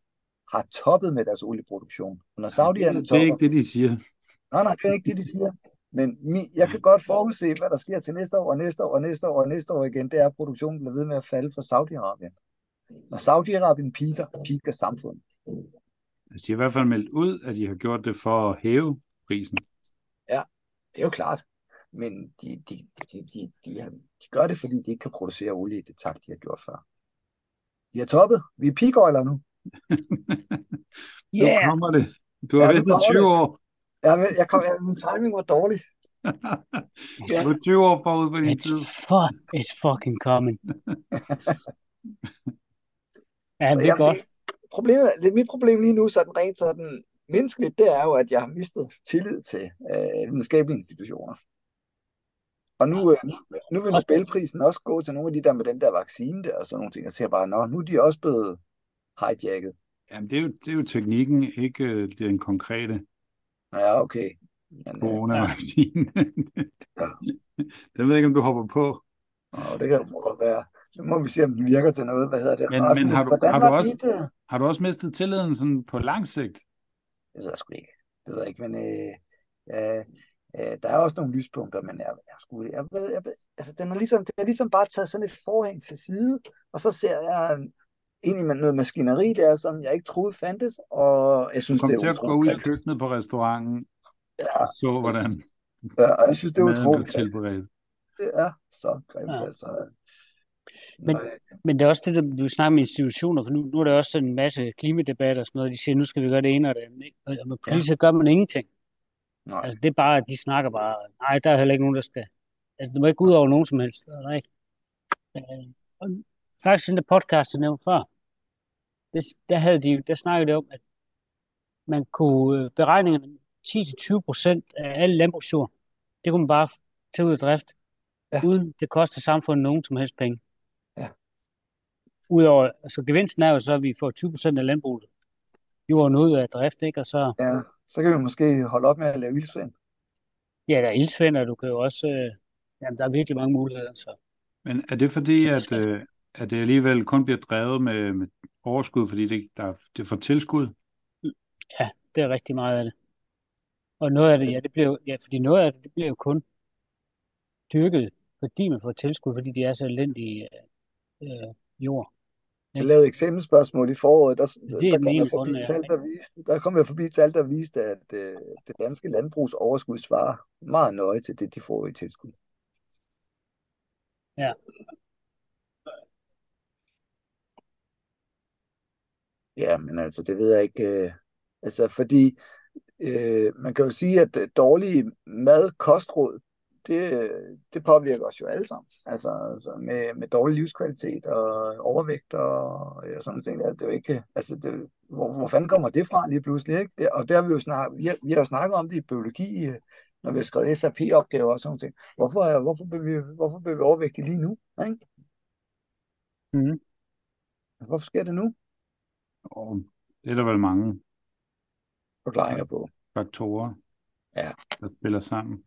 [SPEAKER 1] har toppet med deres olieproduktion. Og når Saudi-Arabien
[SPEAKER 3] Det er
[SPEAKER 1] topper,
[SPEAKER 3] ikke det, de siger.
[SPEAKER 1] Nej, nej, det er ikke det, de siger. Men mi, jeg kan godt forudse, hvad der sker til næste år, og næste år, og næste år, og næste år igen. Det er, at produktionen bliver ved med at falde for Saudi-Arabien. Når Saudi-Arabien piker, piker samfundet.
[SPEAKER 3] Altså, de har i
[SPEAKER 1] *laughs*
[SPEAKER 3] hvert fald meldt ud, at de har gjort det for at hæve prisen.
[SPEAKER 1] Det er jo klart. men de, de, de, de, de, har- de gør det, fordi de ikke kan producere olie i det takt, de har gjort før. De har toppet. Vi er peak oiler nu.
[SPEAKER 3] Nu
[SPEAKER 2] Yeah!
[SPEAKER 3] kommer det. Du har
[SPEAKER 1] Ja, nu
[SPEAKER 3] ventet
[SPEAKER 1] kommer
[SPEAKER 3] 20 år.
[SPEAKER 1] Jeg, ved- jeg kom, jeg, min timing var dårlig.
[SPEAKER 3] Du er 20 år forud for din
[SPEAKER 2] It's,
[SPEAKER 3] tid.
[SPEAKER 2] fu- it's fucking coming.
[SPEAKER 1] *laughs*
[SPEAKER 2] ja,
[SPEAKER 1] Så
[SPEAKER 2] det er
[SPEAKER 1] jeg-
[SPEAKER 2] godt.
[SPEAKER 1] Problemet, det, mit problem lige nu, sådan rent sådan menneskeligt, det er jo, at jeg har mistet tillid til øh, videnskabelige institutioner. Og nu, øh, nu vil
[SPEAKER 2] Også-
[SPEAKER 1] Nobelprisen også gå til nogle af de der med den der vaccine der og sådan nogle ting. Jeg ser bare, nå, nu er de også blevet hijacket.
[SPEAKER 3] Jamen, det er jo, det er jo teknikken, ikke øh, den konkrete
[SPEAKER 1] Ja, okay. Men, øh,
[SPEAKER 3] coronavaccine.
[SPEAKER 1] Ja.
[SPEAKER 3] Den ved jeg ikke, om du hopper på.
[SPEAKER 1] og det kan jo godt være. Så må vi se, om den virker til noget. Hvad hedder det?
[SPEAKER 3] Men-
[SPEAKER 1] Rasmus,
[SPEAKER 3] men har du-
[SPEAKER 1] hvordan
[SPEAKER 3] har du
[SPEAKER 1] var
[SPEAKER 3] også-
[SPEAKER 1] dit, øh,
[SPEAKER 3] Har du også mistet tilliden sådan på lang sigt?
[SPEAKER 1] Det ved jeg sgu ikke. Det ved jeg ikke, men øh, øh, øh, der er også nogle lyspunkter, men jeg, jeg, sgu, jeg ved, jeg ved, altså den er ligesom, det er ligesom bare taget sådan et forhæng til side, og så ser jeg en, ind i noget maskineri der, som jeg ikke troede fandtes, og jeg
[SPEAKER 3] Du
[SPEAKER 1] synes,
[SPEAKER 3] kom
[SPEAKER 1] det
[SPEAKER 3] til
[SPEAKER 1] er
[SPEAKER 3] at gå ud i
[SPEAKER 1] utroligt.
[SPEAKER 3] køkkenet på restauranten
[SPEAKER 1] Ja,
[SPEAKER 3] og så, hvordan
[SPEAKER 1] ja, og jeg synes, det er
[SPEAKER 3] maden blev
[SPEAKER 1] utroligt.
[SPEAKER 3] tilberedt.
[SPEAKER 1] Det er så grimt,
[SPEAKER 2] Ja.
[SPEAKER 1] altså.
[SPEAKER 2] Men-
[SPEAKER 1] Nå,
[SPEAKER 2] Men det er også det, der- du snakker med institutioner, for nu, nu er der også sådan en masse klimadebat og sådan noget, de siger, nu skal vi gøre det ene og det andet. ikke? Og og med politik gør man ingenting.
[SPEAKER 1] nej.
[SPEAKER 2] Altså det er bare, at de snakker bare, nej, der er heller ikke nogen, der skal. Altså det må ikke ud over nogen som helst. Og der er ikke. Øh, og faktisk den der podcast, jeg nævnte før, det, der, havde de, der snakkede de om, at man kunne øh, beregningerne 10-20 procent af alle landbrugsjord, det kunne man bare tage ud af drift,
[SPEAKER 1] Ja.
[SPEAKER 2] uden det koster samfundet nogen som helst penge.
[SPEAKER 1] Ja.
[SPEAKER 2] Udover, så altså, gevinsten er jo så, at vi får 20 procent af landbruget jorden ud af drift, ikke? Og så,
[SPEAKER 1] Ja, så kan vi måske holde op med at lave ildsvind.
[SPEAKER 2] ja, der er ildsvind, og du kan jo også, øh, jamen, der er virkelig mange muligheder, så.
[SPEAKER 3] Men er det fordi, at, øh, at det alligevel kun bliver drevet med, med overskud, fordi det, der er, det får tilskud?
[SPEAKER 2] Det er rigtig meget af det. Og noget af det, ja, det bliver, jo- ja, fordi noget af det, det bliver jo kun dyrket, fordi man får tilskud, fordi de er så elendige øh, jord.
[SPEAKER 1] Jeg lavede eksamensspørgsmål i foråret, der,
[SPEAKER 2] er
[SPEAKER 1] der,
[SPEAKER 2] den
[SPEAKER 1] kom
[SPEAKER 2] ene
[SPEAKER 1] jeg
[SPEAKER 2] grund,
[SPEAKER 1] forbi
[SPEAKER 2] ja.
[SPEAKER 1] tal, der, vi- der kom jeg forbi tal, der viste, at øh, det danske landbrugs overskud svarer meget nøje til det, de får i tilskud.
[SPEAKER 2] Ja.
[SPEAKER 1] Ja, men altså, det ved jeg ikke. Øh, altså, fordi øh, man kan jo sige, at øh, dårlige madkostråd, det, øh, det påvirker os jo alle sammen. Altså, altså med, med dårlig livskvalitet og overvægt og, øh, sådan nogle ting. Der. Det er jo ikke, altså det, hvor, hvor fanden kommer det fra lige pludselig? Ikke? Det, og der har vi jo snakket, vi har, vi har jo snakket om det i biologi, øh, når vi har skrevet SAP-opgaver og sådan noget. Hvorfor, er- hvorfor, bliver vi, hvorfor bliver vi overvægtige lige nu? Ikke? Altså,
[SPEAKER 2] Mhm.
[SPEAKER 1] Hvorfor sker det nu?
[SPEAKER 3] Og det er der vel mange
[SPEAKER 1] Forklaringer på.
[SPEAKER 3] faktorer,
[SPEAKER 1] Ja.
[SPEAKER 3] der spiller sammen.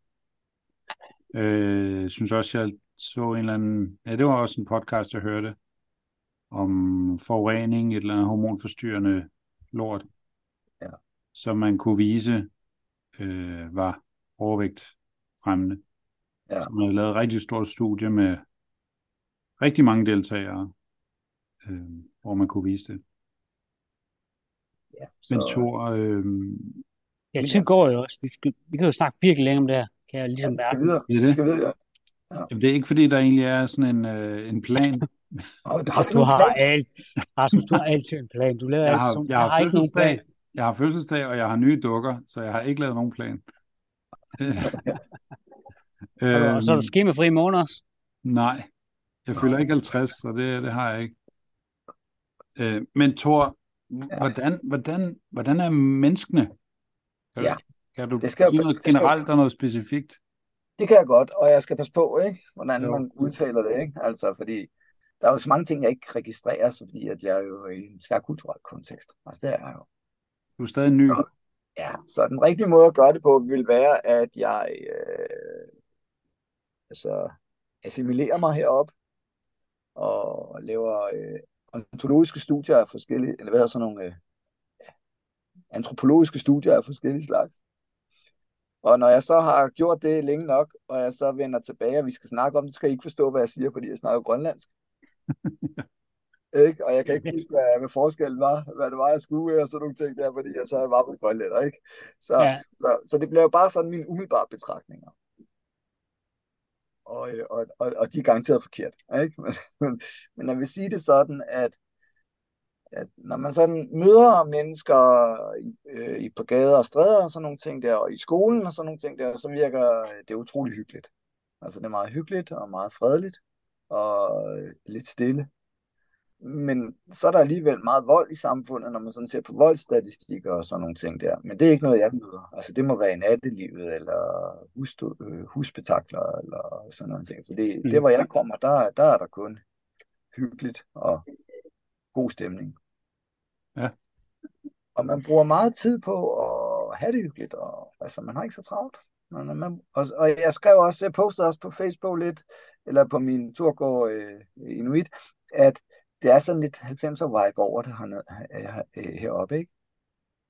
[SPEAKER 3] Øh, synes også, jeg så en eller anden... Ja, det var også en podcast, jeg hørte om forurening, et eller andet hormonforstyrrende lort,
[SPEAKER 1] Ja.
[SPEAKER 3] som man kunne vise øh, var overvægtfremmende.
[SPEAKER 1] Ja.
[SPEAKER 3] Så man havde lavet et rigtig stort studie med rigtig mange deltagere, øh, hvor man kunne vise det.
[SPEAKER 1] Ja,
[SPEAKER 3] Men
[SPEAKER 1] så-
[SPEAKER 3] Thor, øh,
[SPEAKER 2] Ja,
[SPEAKER 1] Men
[SPEAKER 2] tid
[SPEAKER 1] ja.
[SPEAKER 2] går jo også. Vi, skal, vi kan jo snakke virkelig længe om det her, kan jeg ligesom
[SPEAKER 1] Skal
[SPEAKER 2] mærke.
[SPEAKER 1] videre.
[SPEAKER 3] det er det.
[SPEAKER 1] Skal videre.
[SPEAKER 3] Jamen, det er ikke, fordi der egentlig er sådan en, øh, en
[SPEAKER 1] *laughs*
[SPEAKER 3] plan.
[SPEAKER 1] Og, har
[SPEAKER 2] Rasmus,
[SPEAKER 1] du
[SPEAKER 2] du
[SPEAKER 1] nogen
[SPEAKER 2] har
[SPEAKER 1] plan?
[SPEAKER 2] alt, Rasmus, du har altid en plan. Du laver
[SPEAKER 3] Jeg
[SPEAKER 2] altid
[SPEAKER 3] har,
[SPEAKER 2] sådan,
[SPEAKER 3] jeg har,
[SPEAKER 2] ikke nogen
[SPEAKER 3] fødselsdag,
[SPEAKER 2] plan.
[SPEAKER 3] jeg har fødselsdag, og jeg har nye dukker, så jeg har ikke lavet nogen
[SPEAKER 1] *laughs*
[SPEAKER 3] plan. Øh,
[SPEAKER 2] Og, du, og så er
[SPEAKER 3] øhm,
[SPEAKER 2] du skemafri i morgen også.
[SPEAKER 3] Nej, jeg
[SPEAKER 1] Nå.
[SPEAKER 3] fylder ikke 50, så det, det har jeg ikke. Øh, men Thor,
[SPEAKER 1] Ja.
[SPEAKER 3] hvordan, hvordan, hvordan er menneskene? Kan,
[SPEAKER 1] Ja.
[SPEAKER 3] kan du
[SPEAKER 1] Det skal jo-
[SPEAKER 3] sige noget
[SPEAKER 1] det skal jo-
[SPEAKER 3] generelt og noget specifikt?
[SPEAKER 1] Det kan jeg godt, og jeg skal passe på, ikke? hvordan
[SPEAKER 3] Jo.
[SPEAKER 1] man udtaler det. Ikke? Altså, fordi der er jo så mange ting, jeg ikke registrerer, så fordi at jeg er jo i en tværkulturel kontekst. Altså, det er jeg jo.
[SPEAKER 3] Du er stadig ny.
[SPEAKER 1] Nå. Ja, så den rigtige måde at gøre det på vil være, at jeg øh, altså, assimilerer mig herop og laver øh, ontologiske studier af forskellige, eller hvad hedder sådan nogle øh, antropologiske studier af forskellige slags. Og når jeg så har gjort det længe nok, og jeg så vender tilbage, og vi skal snakke om det, så kan I ikke forstå, hvad jeg siger, fordi jeg snakker grønlandsk. ikke? Og jeg kan ikke huske, hvad, hvad forskellen var, hvad det var, jeg skulle, og sådan nogle ting der, fordi jeg så var på grønlænder, ikke? Så,
[SPEAKER 2] Ja,
[SPEAKER 1] så, så det bliver jo bare sådan mine umiddelbare betragtninger. og, øh, og, og, og de er garanteret forkert. Ikke? *laughs* Men, men, men jeg vil sige det sådan, at, at når man sådan møder mennesker i, øh, i på gader og stræder og sådan nogle ting der, og i skolen og sådan nogle ting der, så virker det utrolig hyggeligt. Altså det er meget hyggeligt og meget fredeligt og øh, lidt stille. Men så er der alligevel meget vold i samfundet, når man sådan ser på voldsstatistikker og sådan nogle ting der. Men det er ikke noget, jeg møder. Altså det må være i nattelivet, eller husstø- husbetakler, eller sådan nogle ting. For det, mm. det hvor jeg kommer, der, der er der kun hyggeligt og god stemning.
[SPEAKER 3] Ja.
[SPEAKER 1] Og man bruger meget tid på at have det hyggeligt, og altså, man har ikke så travlt. Man, man, og, og jeg skrev også, jeg postede også på Facebook lidt, eller på min turgård øh, Inuit, at det er sådan lidt 90'er vibe over det hernede, her, her, øh, heroppe, ikke?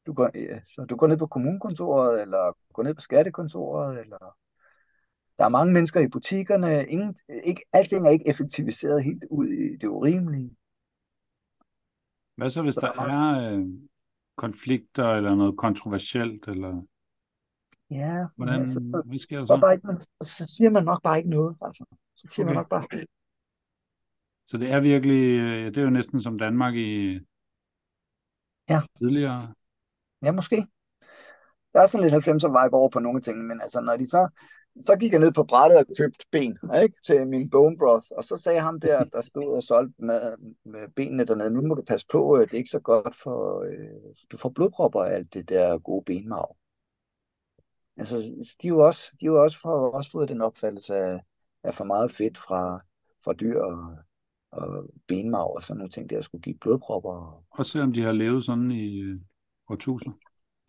[SPEAKER 1] Du går, øh, så du går ned på kommunekontoret, eller går ned på skattekontoret, eller der er mange mennesker i butikkerne. Ingen, ikke, alting er ikke effektiviseret helt ud i det urimelige.
[SPEAKER 3] Hvad så, hvis der er øh, konflikter eller noget kontroversielt? Eller...
[SPEAKER 1] Ja,
[SPEAKER 3] Hvordan,
[SPEAKER 1] altså,
[SPEAKER 3] hvad sker der
[SPEAKER 1] så,
[SPEAKER 3] så?
[SPEAKER 1] bare ikke, man, så siger man nok bare ikke noget. Altså. Så siger okay.
[SPEAKER 3] Okay.
[SPEAKER 1] man nok bare,
[SPEAKER 3] Så det er virkelig, øh, det er jo næsten som Danmark i
[SPEAKER 1] Ja.
[SPEAKER 3] tidligere.
[SPEAKER 1] ja, måske. Der er sådan lidt 90'er vibe over på nogle ting, men altså, når de så, så gik jeg ned på brættet og købte ben ikke, til min bone broth, og så sagde ham der, der stod og solgte med, med benene dernede, nu må du passe på, øh, det er ikke så godt for, øh, du får blodpropper af alt det der gode benmarv. Altså, de er jo også, de er jo også, for, også fået den opfattelse af, af for meget fedt fra, fra dyr og, og benmarv og sådan nogle ting, der skulle give blodpropper og
[SPEAKER 3] Også selvom de har levet sådan i øh, årtusinder.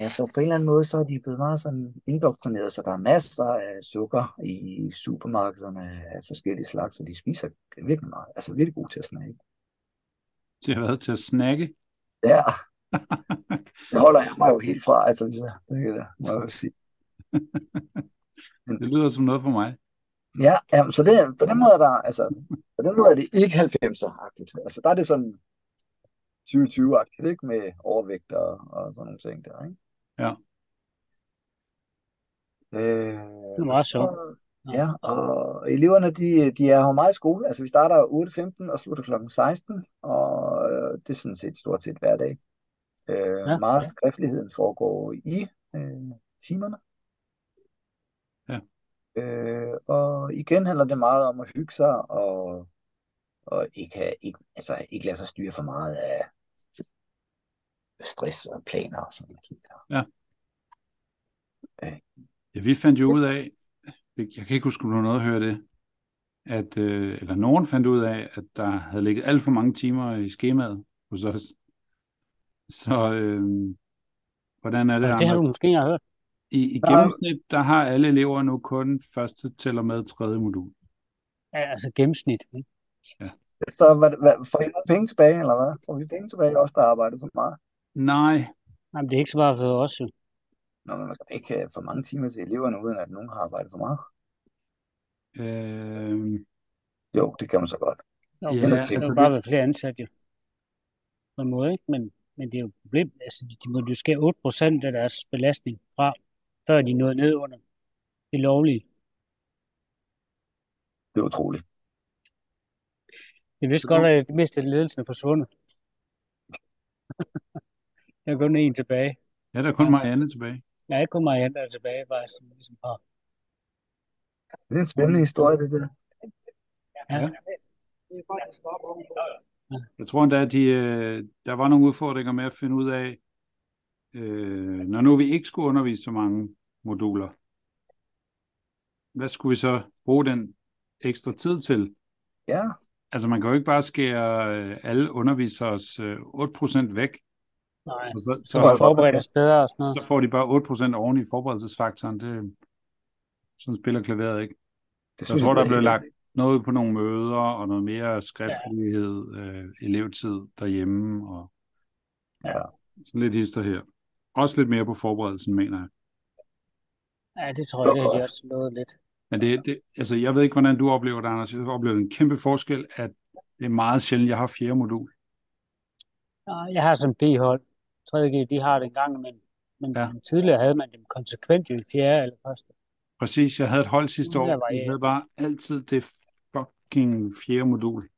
[SPEAKER 1] Ja, så Altså, på en eller anden måde, så er de blevet meget sådan indoktrineret, så der er masser af sukker i supermarkederne af forskellige slags, og de spiser virkelig meget, altså virkelig gode til at snakke.
[SPEAKER 3] Til at, hvad, til at snakke.
[SPEAKER 1] Ja, det holder jeg mig jo helt fra, altså det, det, det må jeg jo sige.
[SPEAKER 3] Det lyder som noget for mig.
[SPEAKER 1] Ja, ja, så det, på den måde er der, altså, på den måde er det ikke 90'er-agtigt. Altså der er det sådan 2020-agtigt, ikke? Med overvægt og, og sådan nogle ting der, ikke?
[SPEAKER 3] Ja.
[SPEAKER 1] Øh,
[SPEAKER 2] Det er meget sjovt.
[SPEAKER 1] Ja, og eleverne, de, de er jo meget i skole. Altså, vi starter 8.15 og slutter kl. 16, og øh, det er sådan set stort set hver dag. Øh,
[SPEAKER 2] Ja.
[SPEAKER 1] ja. Meget af skriftligheden foregår i øh, timerne.
[SPEAKER 3] Ja.
[SPEAKER 1] Øh, og igen handler det meget om at hygge sig og, og ikke, have, ikke, altså, ikke lade sig styre for meget af stress og planer og sådan noget.
[SPEAKER 3] Ja, vi fandt jo ud af, jeg kan ikke huske, om du nåede at høre det, at, øh, eller nogen fandt ud af, at der havde ligget alt for mange timer i skemaet hos os. Så øh, hvordan er det,
[SPEAKER 2] Det har du
[SPEAKER 3] Anders?
[SPEAKER 2] måske ikke hørt.
[SPEAKER 3] I, I
[SPEAKER 1] Nej.
[SPEAKER 3] gennemsnit, der har alle elever nu kun første tæller med tredje modul.
[SPEAKER 2] Ja, altså gennemsnit. Ikke?
[SPEAKER 1] Så hvad, hvad, får I nogle penge tilbage, eller hvad? Får vi penge tilbage, os der arbejder for meget?
[SPEAKER 3] Nej,
[SPEAKER 2] Jamen, det er ikke så meget for os. Jo.
[SPEAKER 1] Nå, men man kan ikke have for mange timer til eleverne, uden at nogen har arbejdet for meget.
[SPEAKER 3] øh,
[SPEAKER 1] Jo, det kan man så godt.
[SPEAKER 2] Jo,
[SPEAKER 3] Ja,
[SPEAKER 2] det er
[SPEAKER 1] altså
[SPEAKER 2] altså,
[SPEAKER 3] det-
[SPEAKER 2] bare være flere ansatte. Jo. På en måde, ikke? Men, men det er jo et problem. Altså, de må jo skære 8% af deres belastning fra, før de nåede ned under det lovlige.
[SPEAKER 1] Det er utroligt.
[SPEAKER 2] Det vidste godt, at det meste af ledelsen er forsvundet. *laughs* der er kun en tilbage.
[SPEAKER 3] ja, der er kun Marianne tilbage.
[SPEAKER 2] Jeg er ikke kun Marianne, der er tilbage, bare som ligesom har.
[SPEAKER 1] Det er en spændende historie, det der.
[SPEAKER 3] Ja. Jeg tror endda, at de, øh, der var nogle udfordringer med at finde ud af, øh, når nu vi ikke skulle undervise så mange moduler, hvad skulle vi så bruge den ekstra tid til?
[SPEAKER 1] Ja,
[SPEAKER 3] Altså man kan jo ikke bare skære øh, alle underviseres øh, 8% væk,
[SPEAKER 2] Nej,
[SPEAKER 3] og så,
[SPEAKER 2] så man
[SPEAKER 1] var-
[SPEAKER 3] så,
[SPEAKER 2] forberedt os bedre og sådan noget.
[SPEAKER 3] så får de bare 8% oven i forberedelsesfaktoren. Det, sådan spiller klaveret ikke.
[SPEAKER 1] det
[SPEAKER 3] Jeg
[SPEAKER 1] synes
[SPEAKER 3] tror, der
[SPEAKER 1] er
[SPEAKER 3] blev
[SPEAKER 1] helt-
[SPEAKER 3] lagt noget på nogle møder og noget mere skriftlighed, øh, elevtid derhjemme og
[SPEAKER 1] Ja.
[SPEAKER 3] sådan lidt hister her. Også lidt mere på forberedelsen, mener jeg.
[SPEAKER 2] Ja, det tror jeg, det har de også slået lidt.
[SPEAKER 3] Men det, det, altså, jeg ved ikke, hvordan du oplever det, Anders. Jeg oplever en kæmpe forskel, at det er meget sjældent, jeg har fjerde modul.
[SPEAKER 2] Nej, Jeg har sådan B-hold. 3.G, de har det engang, men, men
[SPEAKER 3] Ja.
[SPEAKER 2] ja. tidligere havde man dem konsekvent jo i fjerde eller første.
[SPEAKER 3] Præcis, jeg havde et hold sidste
[SPEAKER 2] Der
[SPEAKER 3] år.
[SPEAKER 2] var
[SPEAKER 3] Jeg
[SPEAKER 2] jeg.
[SPEAKER 3] havde bare altid det fucking fjerde modul.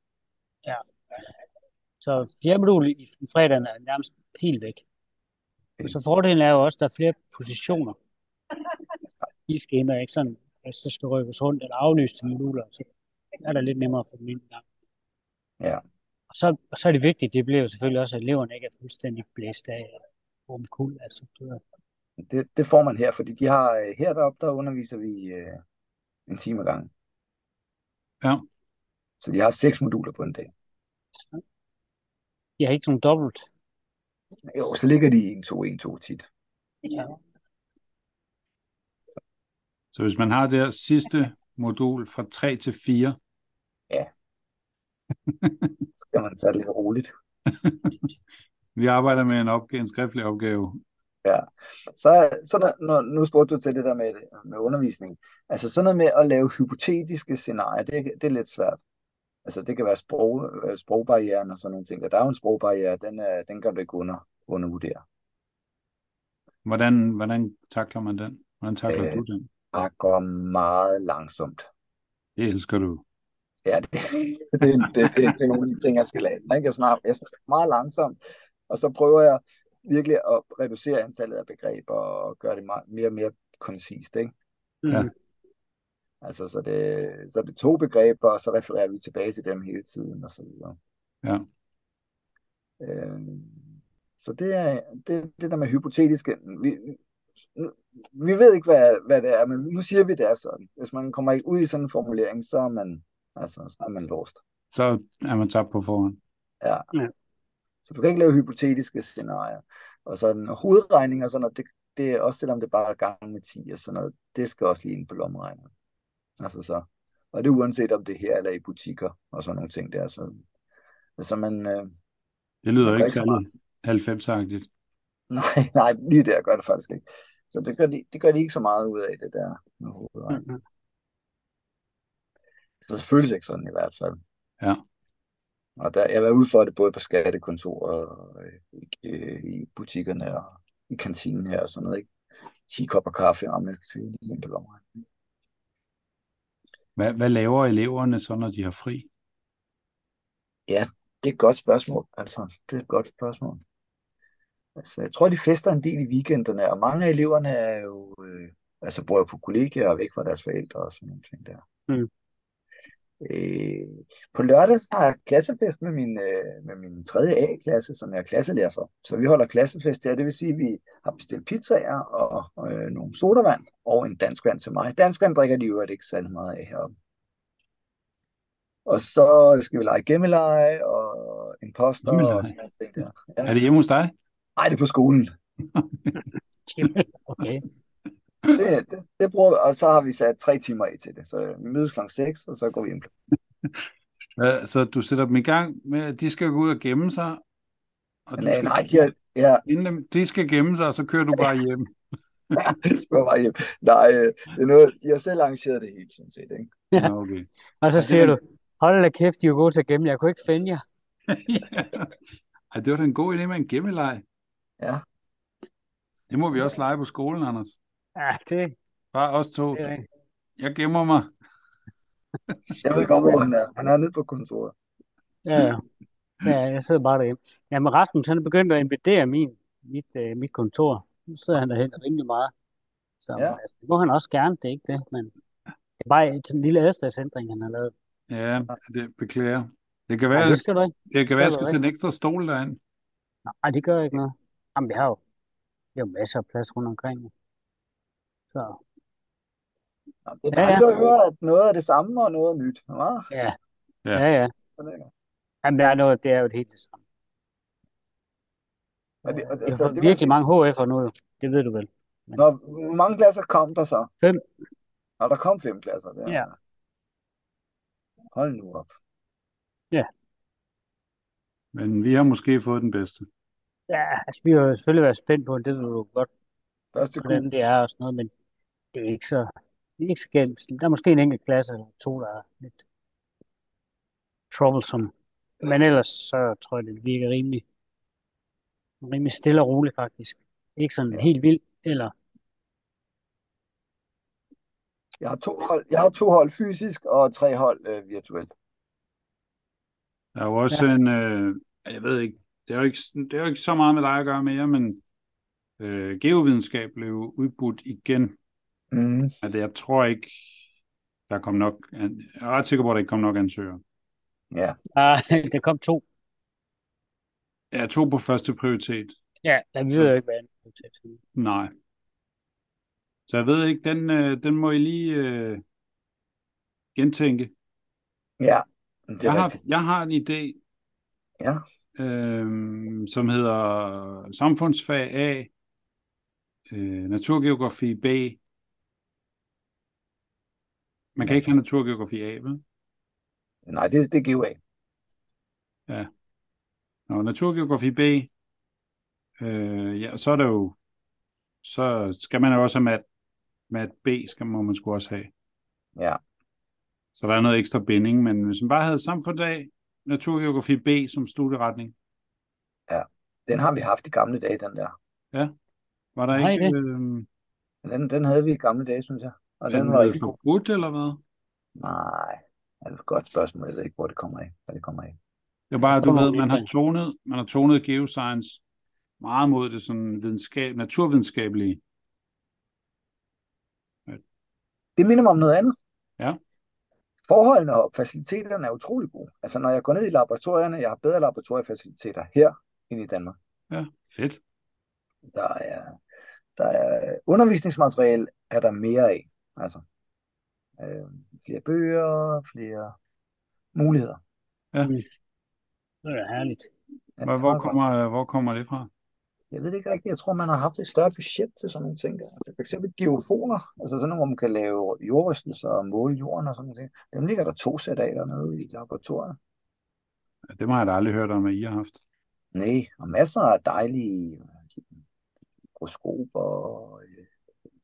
[SPEAKER 2] Så fjerde modul i fredagen er nærmest helt væk. Og så fordelen er jo også, at der er flere positioner i skemaet, ikke sådan, hvis der skal rykkes rundt eller aflyse til moduler, så er det lidt nemmere for den ene gang.
[SPEAKER 1] Ja.
[SPEAKER 2] Og så, og så er det vigtigt, det bliver jo selvfølgelig også, at eleverne ikke er fuldstændig blæst af og rumkul. Altså, det er-
[SPEAKER 1] Det, det får man her, fordi de har øh, her deroppe, der underviser vi øh, en time ad gangen.
[SPEAKER 3] Ja.
[SPEAKER 1] Så de har seks moduler på en dag.
[SPEAKER 2] de har ikke sådan dobbelt.
[SPEAKER 1] Jo, så ligger de i 1-2-1-2 tit.
[SPEAKER 2] Ja.
[SPEAKER 3] Så hvis man har det her sidste modul fra 3 til 4,
[SPEAKER 1] Så skal man tage det lidt roligt.
[SPEAKER 3] vi arbejder med en, opgave, en skriftlig opgave.
[SPEAKER 1] Så, så der, når, nu spurgte du til det der med, med undervisning. Altså sådan noget med at lave hypotetiske scenarier, det, det er lidt svært. Altså det kan være sprog, øh, sprogbarrieren og sådan nogle ting. Og der er jo en sprogbarriere, den, er, den kan du ikke under, undervurdere.
[SPEAKER 3] Hvordan, hvordan takler man den? Hvordan takler
[SPEAKER 1] Øh.
[SPEAKER 3] du den?
[SPEAKER 1] Der går meget langsomt.
[SPEAKER 3] Det elsker du.
[SPEAKER 1] Ja, det, *laughs* det, det, det, det er nogle af de ting, jeg skal lave. Ikke? Jeg, snakker, jeg snakker meget langsomt, og så prøver jeg virkelig at reducere antallet af begreber og gøre det meget, mere og mere koncist. Ikke?
[SPEAKER 3] Ja.
[SPEAKER 2] Mm.
[SPEAKER 1] Altså, så det, så er det to begreber, og så refererer vi tilbage til dem hele tiden, og så videre.
[SPEAKER 3] Ja.
[SPEAKER 1] Øhm, så det er det, det der med hypotetiske. Vi, nu- vi ved ikke, hvad, hvad det er, men nu siger vi, det er sådan. Hvis man kommer ikke ud i sådan en formulering, så er man, altså, så er man låst.
[SPEAKER 3] Så er man tabt på forhånd.
[SPEAKER 1] Ja.
[SPEAKER 2] Ja.
[SPEAKER 1] Så du kan ikke lave hypotetiske scenarier. Og sådan hovedregning og sådan noget, det, det er også selvom det bare er gange med 10 og sådan noget, det skal også lige ind på lommeregneren. Altså så. Og det er uanset om det er her eller i butikker og sådan nogle ting der. Så, så man, øh, *laughs*
[SPEAKER 3] Det lyder
[SPEAKER 1] Det
[SPEAKER 3] jo
[SPEAKER 1] gør
[SPEAKER 3] ikke
[SPEAKER 1] ikke så
[SPEAKER 3] særlig 90-agtigt.
[SPEAKER 1] nej, nej, lige der gør det faktisk ikke. Så det gør de, det gør de ikke så meget ud af, det der med hovedregning.
[SPEAKER 2] Mhm.
[SPEAKER 1] Så det føles ikke sådan i hvert fald.
[SPEAKER 3] Ja.
[SPEAKER 1] Og der, jeg var ude for det både på skattekontoret og øh, i, øh, i butikkerne og i kantinen her og sådan noget. Ikke? 10 kopper kaffe, og man skal svinge lige ind på lommen.
[SPEAKER 3] Hvad, hvad laver eleverne så, når de har fri?
[SPEAKER 1] Det er et godt spørgsmål, altså. Det er et godt spørgsmål. Altså, jeg tror, de fester en del i weekenderne, og mange af eleverne er jo, øh, altså, bor jo på kollegier og væk fra deres forældre og sådan nogle ting der.
[SPEAKER 2] Mm.
[SPEAKER 1] Øh, på lørdag har jeg klassefest med min, øh, med min 3. A-klasse, som jeg er klasselærer for. Så vi holder klassefest der, det vil sige, at vi har bestilt pizzaer og, og øh, nogle sodavand og en danskvand til mig. Danskvand drikker de jo ikke særlig meget af heroppe. Og så skal vi lege gemmeleje og imposter
[SPEAKER 3] Gemmeleje?
[SPEAKER 1] og sådan nogle ting der.
[SPEAKER 3] Er det hjemme hos dig?
[SPEAKER 1] Nej, det er på skolen.
[SPEAKER 2] Okay.
[SPEAKER 1] Det, det, det bruger vi, og så har vi sat tre timer af til det. Så øh, vi mødes klokken 6, og så går vi hjem.
[SPEAKER 3] Hvad, så du sætter dem i gang med, at de skal gå ud og gemme sig, og du
[SPEAKER 1] Nej,
[SPEAKER 3] skal
[SPEAKER 1] øh, nej, de har, ja, *laughs*
[SPEAKER 3] finde dem. De skal gemme sig, og så kører du bare hjem.
[SPEAKER 1] på vej hjem. Nej, øh, det er noget, de har selv arrangeret det hele, sådan set. Ikke?
[SPEAKER 3] Nå, okay. *laughs*
[SPEAKER 2] Og så
[SPEAKER 3] det
[SPEAKER 2] siger
[SPEAKER 3] vil-
[SPEAKER 2] du, hold da kæft, de er jo gode til at gemme, jeg kunne ikke finde jer.
[SPEAKER 3] ja. Ej, det var da en god idé med en gemmeleg.
[SPEAKER 1] Ja.
[SPEAKER 3] Det må vi også lege på skolen, Anders.
[SPEAKER 2] Ja, det,
[SPEAKER 3] Bare os to.
[SPEAKER 2] det er rigtigt.
[SPEAKER 3] Jeg gemmer mig.
[SPEAKER 1] Jeg ved godt, hvor han er. Han er nede på kontoret.
[SPEAKER 2] Ja, ja. ja, jeg sidder bare derhjemme. Jamen Rasmus, han er begyndt at invadere min, mit, øh, mit kontor. Nu sidder han derhen rimelig meget. Så
[SPEAKER 1] Ja.
[SPEAKER 2] altså, det må han også gerne, det er ikke det, men det er bare sådan en lille adfærdsændring, han har lavet.
[SPEAKER 3] Ja, det beklager. Det kan være,
[SPEAKER 2] Nej, det skal du ikke.
[SPEAKER 3] det kan være jeg
[SPEAKER 2] skal
[SPEAKER 3] skal
[SPEAKER 2] du
[SPEAKER 3] sætte en ekstra stol derind.
[SPEAKER 2] Nej, det gør ikke noget. Jamen, vi har jo, vi har jo masser af plads rundt omkring. Så
[SPEAKER 1] Nå, Det er
[SPEAKER 2] Ja, ja.
[SPEAKER 1] dejligt at høre, at noget er det samme og noget er nyt. Hva?
[SPEAKER 2] ja,
[SPEAKER 3] Ja.
[SPEAKER 2] ja. ja. Jamen, der er noget, det er jo det helt det samme.
[SPEAKER 1] Og det, og,
[SPEAKER 2] Vi har
[SPEAKER 1] så Altså,
[SPEAKER 2] fået
[SPEAKER 1] det
[SPEAKER 2] virkelig
[SPEAKER 1] var,
[SPEAKER 2] mange HF'er nu, jo. Det ved du vel.
[SPEAKER 1] når, hvor mange klasser kom der så?
[SPEAKER 2] Fem.
[SPEAKER 1] Når der kom fem klasser der.
[SPEAKER 2] Ja.
[SPEAKER 1] Hold nu op.
[SPEAKER 3] Men vi har måske fået den bedste.
[SPEAKER 2] Ja, altså, vi har jo selvfølgelig været spændt på, det ved du godt,
[SPEAKER 1] Første kul.
[SPEAKER 2] hvordan det er og sådan noget, men det er ikke så, det er ikke så galt. Der er måske en enkelt klasse eller to, der er lidt troublesome. Men ellers så tror jeg, det virker rimelig, rimelig stille og roligt faktisk. Ikke sådan helt vildt, eller
[SPEAKER 1] Jeg har to hold, jeg har to hold fysisk og tre hold øh, virtuelt.
[SPEAKER 3] Der er jo også ja. en, øh, jeg ved ikke, det er jo ikke, det er jo ikke så meget med dig at gøre mere, men øh, geovidenskab blev udbudt igen.
[SPEAKER 1] Mm.
[SPEAKER 3] At jeg tror ikke, der kom nok, an- jeg er ret sikker på, at der ikke kom nok ansøgere.
[SPEAKER 1] Ja.
[SPEAKER 2] Ah, *laughs* der kom to.
[SPEAKER 3] Jeg tog på første prioritet.
[SPEAKER 2] Ja, der ved jeg ikke, hvad han er til.
[SPEAKER 3] Nej. Så jeg ved ikke, den, øh, den må I lige øh, gentænke.
[SPEAKER 1] Ja, det
[SPEAKER 3] Jeg
[SPEAKER 1] er
[SPEAKER 3] har,
[SPEAKER 1] rigtigt.
[SPEAKER 3] jeg har en idé,
[SPEAKER 1] Ja.
[SPEAKER 3] øhm, som hedder samfundsfag A, øh, naturgeografi B. Man kan ikke have naturgeografi A, vel?
[SPEAKER 1] Nej, det, det giver af.
[SPEAKER 3] Nå, naturgeografi B, øh, ja, så er der jo, så skal man jo også have mat, mat B, skal man, må man sgu også have.
[SPEAKER 1] Ja.
[SPEAKER 3] Så der er noget ekstra binding, men hvis man bare havde samfundsdag, naturgeografi B som studieretning,
[SPEAKER 1] Den har vi haft i gamle dage, den der.
[SPEAKER 3] var der
[SPEAKER 2] Nej,
[SPEAKER 3] ikke,
[SPEAKER 2] det-
[SPEAKER 3] øh,
[SPEAKER 1] Den, den havde vi i gamle dage, synes jeg. Og
[SPEAKER 3] er
[SPEAKER 1] den
[SPEAKER 3] den
[SPEAKER 1] var
[SPEAKER 3] blevet
[SPEAKER 1] ikke god.
[SPEAKER 3] forbudt, eller hvad?
[SPEAKER 1] Nej, det er et godt spørgsmål. Jeg ved ikke, hvor det kommer af. Hvad det kommer af.
[SPEAKER 3] Det er bare, at du
[SPEAKER 2] Hvornår
[SPEAKER 3] ved,
[SPEAKER 2] er
[SPEAKER 3] man har
[SPEAKER 2] det?
[SPEAKER 3] tonet, man har tonet geoscience meget mod det sådan videnskab, naturvidenskabelige.
[SPEAKER 1] Det minder mig om noget andet.
[SPEAKER 3] Ja.
[SPEAKER 1] Forholdene og faciliteterne er utrolig gode. Altså, når jeg går ned i laboratorierne, jeg har bedre laboratoriefaciliteter her end i Danmark.
[SPEAKER 3] Ja, fedt.
[SPEAKER 1] Der er, der er undervisningsmateriale, er der mere af. Altså, øh, flere bøger, flere muligheder.
[SPEAKER 2] Det er da herligt.
[SPEAKER 1] Ja,
[SPEAKER 3] Hvor,
[SPEAKER 1] meget
[SPEAKER 3] hvor,
[SPEAKER 1] godt.
[SPEAKER 3] kommer, hvor kommer det fra?
[SPEAKER 1] Jeg ved det ikke rigtigt. Jeg tror, man har haft et større budget til sådan nogle ting. der. Altså, for eksempel geofoner, altså sådan nogle, hvor man kan lave jordrystelser og måle jorden og sådan nogle ting. Dem ligger der to sæt af dernede i laboratoriet.
[SPEAKER 3] Ja, Det har jeg da aldrig hørt om, at I har haft.
[SPEAKER 1] Nej, og masser af dejlige mikroskoper, og øh,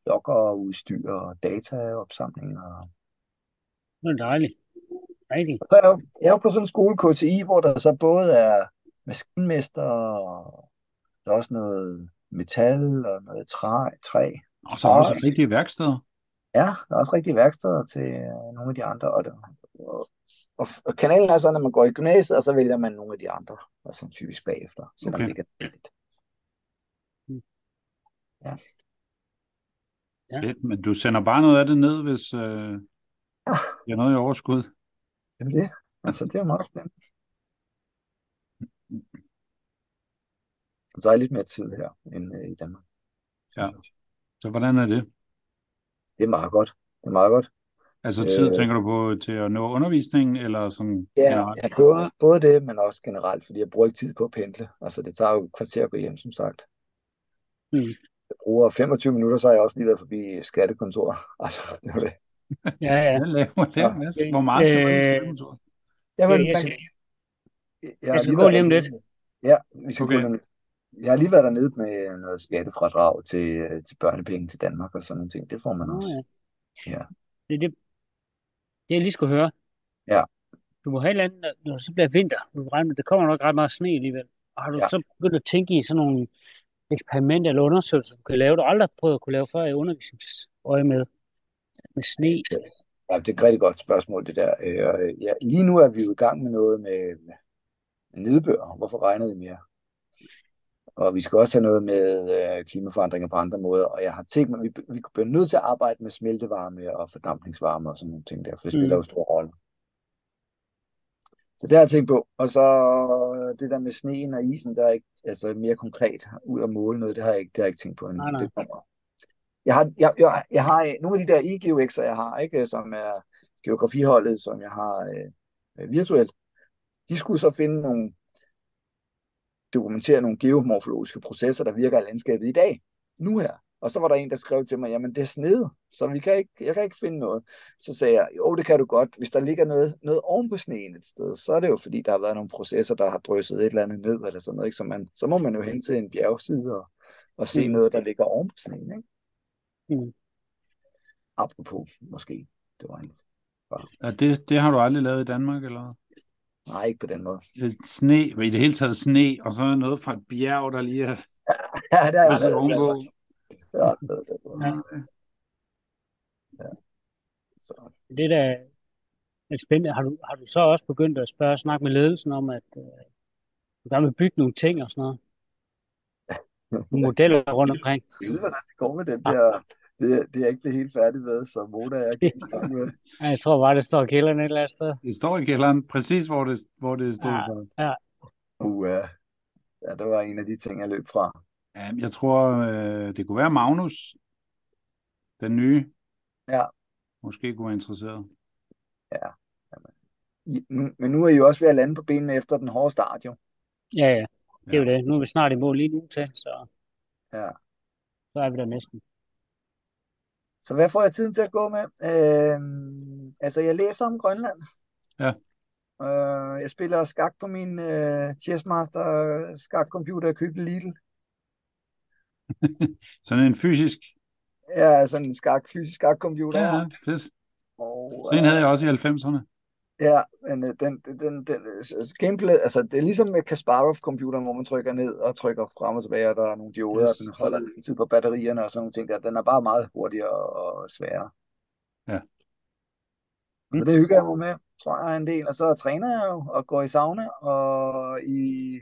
[SPEAKER 1] dokkerudstyr og dataopsamling. Og...
[SPEAKER 2] Det er dejligt. Rigtig.
[SPEAKER 1] Og så er jeg, jo, jeg er jo på sådan en skole, KTI, hvor der så både er maskinmester, og der er også noget metal og noget træ. træ.
[SPEAKER 3] Og så er der også
[SPEAKER 1] Ej.
[SPEAKER 3] rigtige værksteder.
[SPEAKER 1] Ja, der er også rigtige værksteder til øh, nogle af de andre. Og, der, og, og, og kanalen er sådan, at man går i gymnasiet, og så vælger man nogle af de andre, og så typisk bagefter, selvom
[SPEAKER 3] Okay.
[SPEAKER 1] det ikke er rigtigt.
[SPEAKER 2] Ja.
[SPEAKER 3] Fedt, men du sender bare noget af det ned, hvis øh,
[SPEAKER 1] Ah.
[SPEAKER 3] der er noget i overskud.
[SPEAKER 1] Jamen det, altså det er jo meget spændende. Så er lidt mere tid her, end øh, i Danmark.
[SPEAKER 3] Ja. Så hvordan er det?
[SPEAKER 1] Det er meget godt. Det er meget godt.
[SPEAKER 3] Altså tid,
[SPEAKER 1] Øh.
[SPEAKER 3] tænker du på til at nå undervisningen, eller sådan
[SPEAKER 1] Ja,
[SPEAKER 3] generelt?
[SPEAKER 1] ja både, både det, men også generelt, fordi jeg bruger ikke tid på at pendle. Altså, det tager jo et kvarter at gå hjem, som sagt.
[SPEAKER 2] Mm.
[SPEAKER 1] Jeg bruger 25 minutter, så har jeg også lige været forbi skattekontoret. *laughs* Altså, det er jo det.
[SPEAKER 2] Ja, ja.
[SPEAKER 3] Hvad laver det,
[SPEAKER 1] Ja.
[SPEAKER 3] Mads? Hvor meget skal man
[SPEAKER 2] Øh,
[SPEAKER 3] skrive
[SPEAKER 1] Jamen,
[SPEAKER 2] jeg
[SPEAKER 1] man-
[SPEAKER 2] skal-
[SPEAKER 1] Jeg har
[SPEAKER 2] skal
[SPEAKER 1] lige
[SPEAKER 2] gå
[SPEAKER 1] været
[SPEAKER 2] lige om
[SPEAKER 1] dernede. Ja, vi skal
[SPEAKER 3] Okay.
[SPEAKER 1] gå lige om lidt. Jeg har lige været dernede med noget skattefradrag til, øh, til børnepenge til Danmark og sådan nogle ting. Det får man
[SPEAKER 2] Nå,
[SPEAKER 1] også.
[SPEAKER 2] ja.
[SPEAKER 1] Ja.
[SPEAKER 2] Det, er det, det jeg lige skulle høre.
[SPEAKER 1] Ja.
[SPEAKER 2] Du må have et eller andet, når- når det så bliver vinter, du regner med, der kommer nok ret meget sne alligevel. Og har du
[SPEAKER 1] Ja.
[SPEAKER 2] så begyndt at tænke i sådan nogle eksperimenter eller undersøgelser, du kan lave, du aldrig har prøvet at kunne lave før i undervisningsøje med, med sne?
[SPEAKER 1] Ja, det er et rigtig godt spørgsmål, det der. Øh, og, øh, ja, lige nu er vi jo i gang med noget med, med nedbør. Hvorfor regner det mere? Og vi skal også have noget med øh, klimaforandringer på andre måder. Og jeg har tænkt mig, at vi, vi bliver nødt til at arbejde med smeltevarme og fordampningsvarme og sådan nogle ting der, for det spiller
[SPEAKER 2] Mm.
[SPEAKER 1] jo store rolle. Så det har jeg tænkt på. Og så det der med sneen og isen, der er ikke altså mere konkret ud at måle noget, det har jeg ikke, det har jeg ikke tænkt på endnu.
[SPEAKER 2] Nej, nej.
[SPEAKER 1] Det kommer. Jeg har, jeg, jeg, jeg har nogle af de der IGUX'er, jeg har, ikke, som er geografiholdet, som jeg har øh, virtuelt, de skulle så finde nogle, dokumentere nogle geomorfologiske processer, der virker i landskabet i dag, nu her. Og så var der en, der skrev til mig, jamen det er snede, så vi kan ikke, jeg kan ikke finde noget. Så sagde jeg, jo det kan du godt, hvis der ligger noget, noget oven på sneen et sted, så er det jo fordi, der har været nogle processer, der har drysset et eller andet ned, eller sådan noget, ikke? Så, man, så må man jo hen til en bjergside og, og se mm.
[SPEAKER 2] Mm.
[SPEAKER 1] noget, der ligger oven på sneen, ikke?
[SPEAKER 2] Mm.
[SPEAKER 1] Apropos, måske. Det var en...
[SPEAKER 3] Ja, det, det har du aldrig lavet i Danmark, eller hvad?
[SPEAKER 1] Nej, ikke på den måde. *laughs*
[SPEAKER 3] Øh, Sne, men i det hele taget sne, og så noget fra et bjerg, der lige er
[SPEAKER 1] Ja, det altså- har jeg
[SPEAKER 3] altså,
[SPEAKER 1] lavet.
[SPEAKER 3] ovenpå.
[SPEAKER 1] Ja, det, det, det.
[SPEAKER 2] Ja.
[SPEAKER 1] Så.
[SPEAKER 2] Det der er da spændende. Har du, har du så også begyndt at spørge og snakke med ledelsen om, at øh, du gerne vil bygge nogle ting og
[SPEAKER 1] *laughs*
[SPEAKER 2] sådan noget? Nogle modeller rundt omkring.
[SPEAKER 1] Jeg ved, hvordan det går med den der... Det, det er jeg ikke blevet helt færdig med, så Mona og jeg gik
[SPEAKER 3] *laughs*
[SPEAKER 1] i gang med.
[SPEAKER 2] Ja, Jeg tror bare, det står i kælderen et eller andet sted.
[SPEAKER 3] Det står i kælderen, præcis hvor det, hvor det stod
[SPEAKER 2] Ja.
[SPEAKER 3] for.
[SPEAKER 1] Uh, ja, det var en af de ting, jeg løb fra.
[SPEAKER 3] Jamen, jeg tror, øh, det kunne være Magnus, den nye.
[SPEAKER 1] Ja.
[SPEAKER 3] Måske kunne være interesseret.
[SPEAKER 1] I- Men men nu er I jo også ved at lande på benene efter den hårde start, jo.
[SPEAKER 2] Ja, ja. Det er jo det. Nu er vi snart i mål lige nu til, så,
[SPEAKER 1] Ja.
[SPEAKER 2] så er vi der næsten.
[SPEAKER 1] Så hvad får jeg tiden til at gå med? Øh, altså, jeg læser om Grønland.
[SPEAKER 3] Ja.
[SPEAKER 1] Øh, jeg spiller skak på min øh, Chessmaster skakcomputer, jeg købte i Lidl.
[SPEAKER 3] Sådan en fysisk.
[SPEAKER 1] Ja, sådan en skak, fysisk skakcomputer.
[SPEAKER 3] Ja, ja, fedt.
[SPEAKER 1] Og,
[SPEAKER 3] Sådan en
[SPEAKER 1] øh,
[SPEAKER 3] havde jeg også i 90'erne.
[SPEAKER 1] Ja, men øh, den, den, den, den øh, s- gameplay, altså det er ligesom med Kasparov-computeren, hvor man trykker ned og trykker frem og tilbage, og der er nogle dioder,
[SPEAKER 3] Yes.
[SPEAKER 1] og den holder lang tid på batterierne og sådan nogle ting der. Den er bare meget hurtigere og sværere.
[SPEAKER 3] Ja.
[SPEAKER 1] Så det hygger jeg mig med, tror jeg en del. Og så træner jeg jo og går i sauna, og i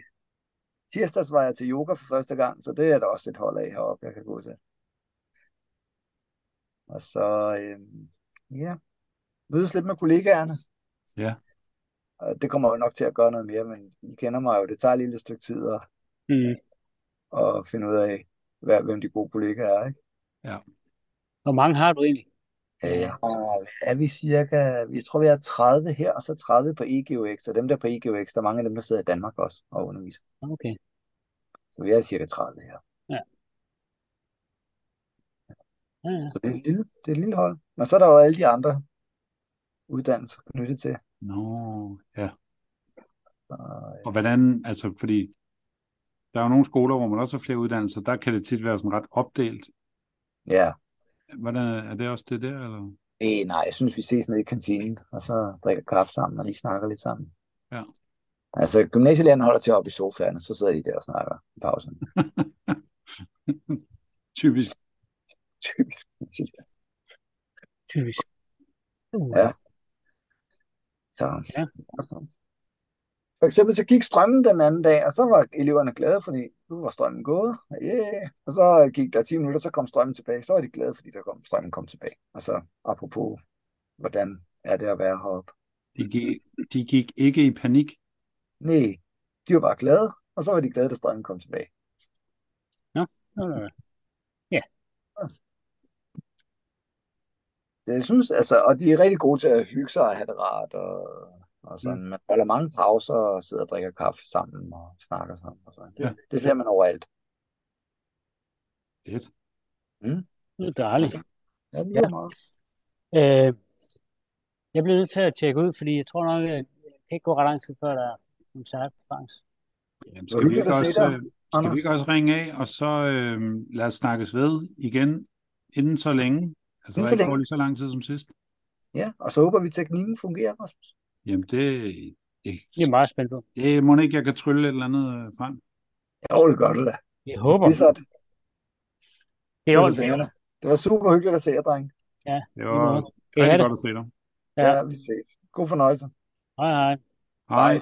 [SPEAKER 1] tirsdags var jeg til yoga for første gang, så det er der også et hold af heroppe, jeg kan gå til. Og så, øhm, ja, mødes lidt med kollegaerne.
[SPEAKER 3] Ja.
[SPEAKER 1] Og det kommer jeg nok til at gøre noget mere, men I kender mig jo, det tager lige lidt stykke tid at,
[SPEAKER 2] Mm.
[SPEAKER 1] at finde ud af, hvad, hvem de gode kollegaer er. Ikke?
[SPEAKER 2] Hvor mange har du egentlig?
[SPEAKER 1] Ja. Og Øh, er vi cirka, vi tror vi er 30 her, og så 30 på E EGUX, og dem der på EGUX, der er mange af dem, der sidder i Danmark også og underviser.
[SPEAKER 2] Okay.
[SPEAKER 1] Så vi er cirka 30 her.
[SPEAKER 2] Ja, ja.
[SPEAKER 1] Så det er et lille, det er et lille hold. Men så er der jo alle de andre uddannelser knyttet til.
[SPEAKER 3] Nå, ja.
[SPEAKER 1] Så,
[SPEAKER 3] Og hvordan, altså fordi, der er jo nogle skoler, hvor man også har flere uddannelser, der kan det tit være sådan ret opdelt.
[SPEAKER 1] ja.
[SPEAKER 3] Hvordan, er det også det der, eller?
[SPEAKER 1] Øh, nej, jeg synes, vi ses nede i kantinen, og så drikker kaffe sammen, og lige snakker lidt sammen.
[SPEAKER 3] Ja.
[SPEAKER 1] Altså, gymnasielærerne holder til oppe i sofaen, og så sidder de der og snakker i pausen.
[SPEAKER 3] Typisk.
[SPEAKER 1] Typisk.
[SPEAKER 2] Typisk. Uh.
[SPEAKER 1] Ja. Så.
[SPEAKER 2] Ja.
[SPEAKER 1] For eksempel så gik strømmen den anden dag, og så var eleverne glade, fordi nu var strømmen gået. Og Yeah. Og så gik der 10 minutter, så kom strømmen tilbage. Så var de glade, fordi der kom, strømmen kom tilbage. Og så apropos, hvordan er det at være heroppe?
[SPEAKER 3] De gik, de gik ikke i panik.
[SPEAKER 1] Nej, de var bare glade, og så var de glade, da strømmen kom tilbage.
[SPEAKER 2] Nå, nå, nå.
[SPEAKER 1] Det, jeg synes, altså, og de er rigtig gode til at hygge sig og have det rart, og, og sådan. Man holder mange pauser og sidder og drikker kaffe sammen og snakker sammen. Og sådan. Det,
[SPEAKER 3] Ja.
[SPEAKER 1] ja. det ser man overalt.
[SPEAKER 3] Fedt.
[SPEAKER 2] Det er dejligt.
[SPEAKER 1] Ja, det lyder meget.
[SPEAKER 2] Øh, jeg bliver nødt til at tjekke ud, fordi jeg tror nok, at det kan ikke gå ret lang tid, før der er koncert faktisk.
[SPEAKER 3] Jamen,
[SPEAKER 1] Hvor
[SPEAKER 3] skal vi
[SPEAKER 1] hyggeligt
[SPEAKER 3] ikke
[SPEAKER 1] at se
[SPEAKER 3] også,
[SPEAKER 1] dig,
[SPEAKER 3] øh, skal vi
[SPEAKER 1] Anders.
[SPEAKER 3] ikke også ringe af, og så øh, lad os snakkes ved igen inden så længe? Altså,
[SPEAKER 1] Inden
[SPEAKER 3] der
[SPEAKER 1] så
[SPEAKER 3] ikke går
[SPEAKER 1] længe.
[SPEAKER 3] lige så lang tid som sidst.
[SPEAKER 1] Ja, og så håber vi, at teknikken fungerer, Rasmus.
[SPEAKER 3] Jamen, det, det,
[SPEAKER 2] Jeg er meget spændt på.
[SPEAKER 3] det må ikke, jeg kan trylle et eller andet øh, frem.
[SPEAKER 1] Jo, det gør du da.
[SPEAKER 2] Jeg håber.
[SPEAKER 1] Det er sådan.
[SPEAKER 2] Det er ordentligt.
[SPEAKER 1] Det var super hyggeligt at se jer, dreng.
[SPEAKER 3] Det
[SPEAKER 2] Lige
[SPEAKER 3] var
[SPEAKER 2] måde.
[SPEAKER 3] rigtig
[SPEAKER 2] Det er det.
[SPEAKER 3] godt at se dig.
[SPEAKER 2] Ja.
[SPEAKER 1] Ja, vi ses. God fornøjelse.
[SPEAKER 2] Hej hej.
[SPEAKER 1] Hej.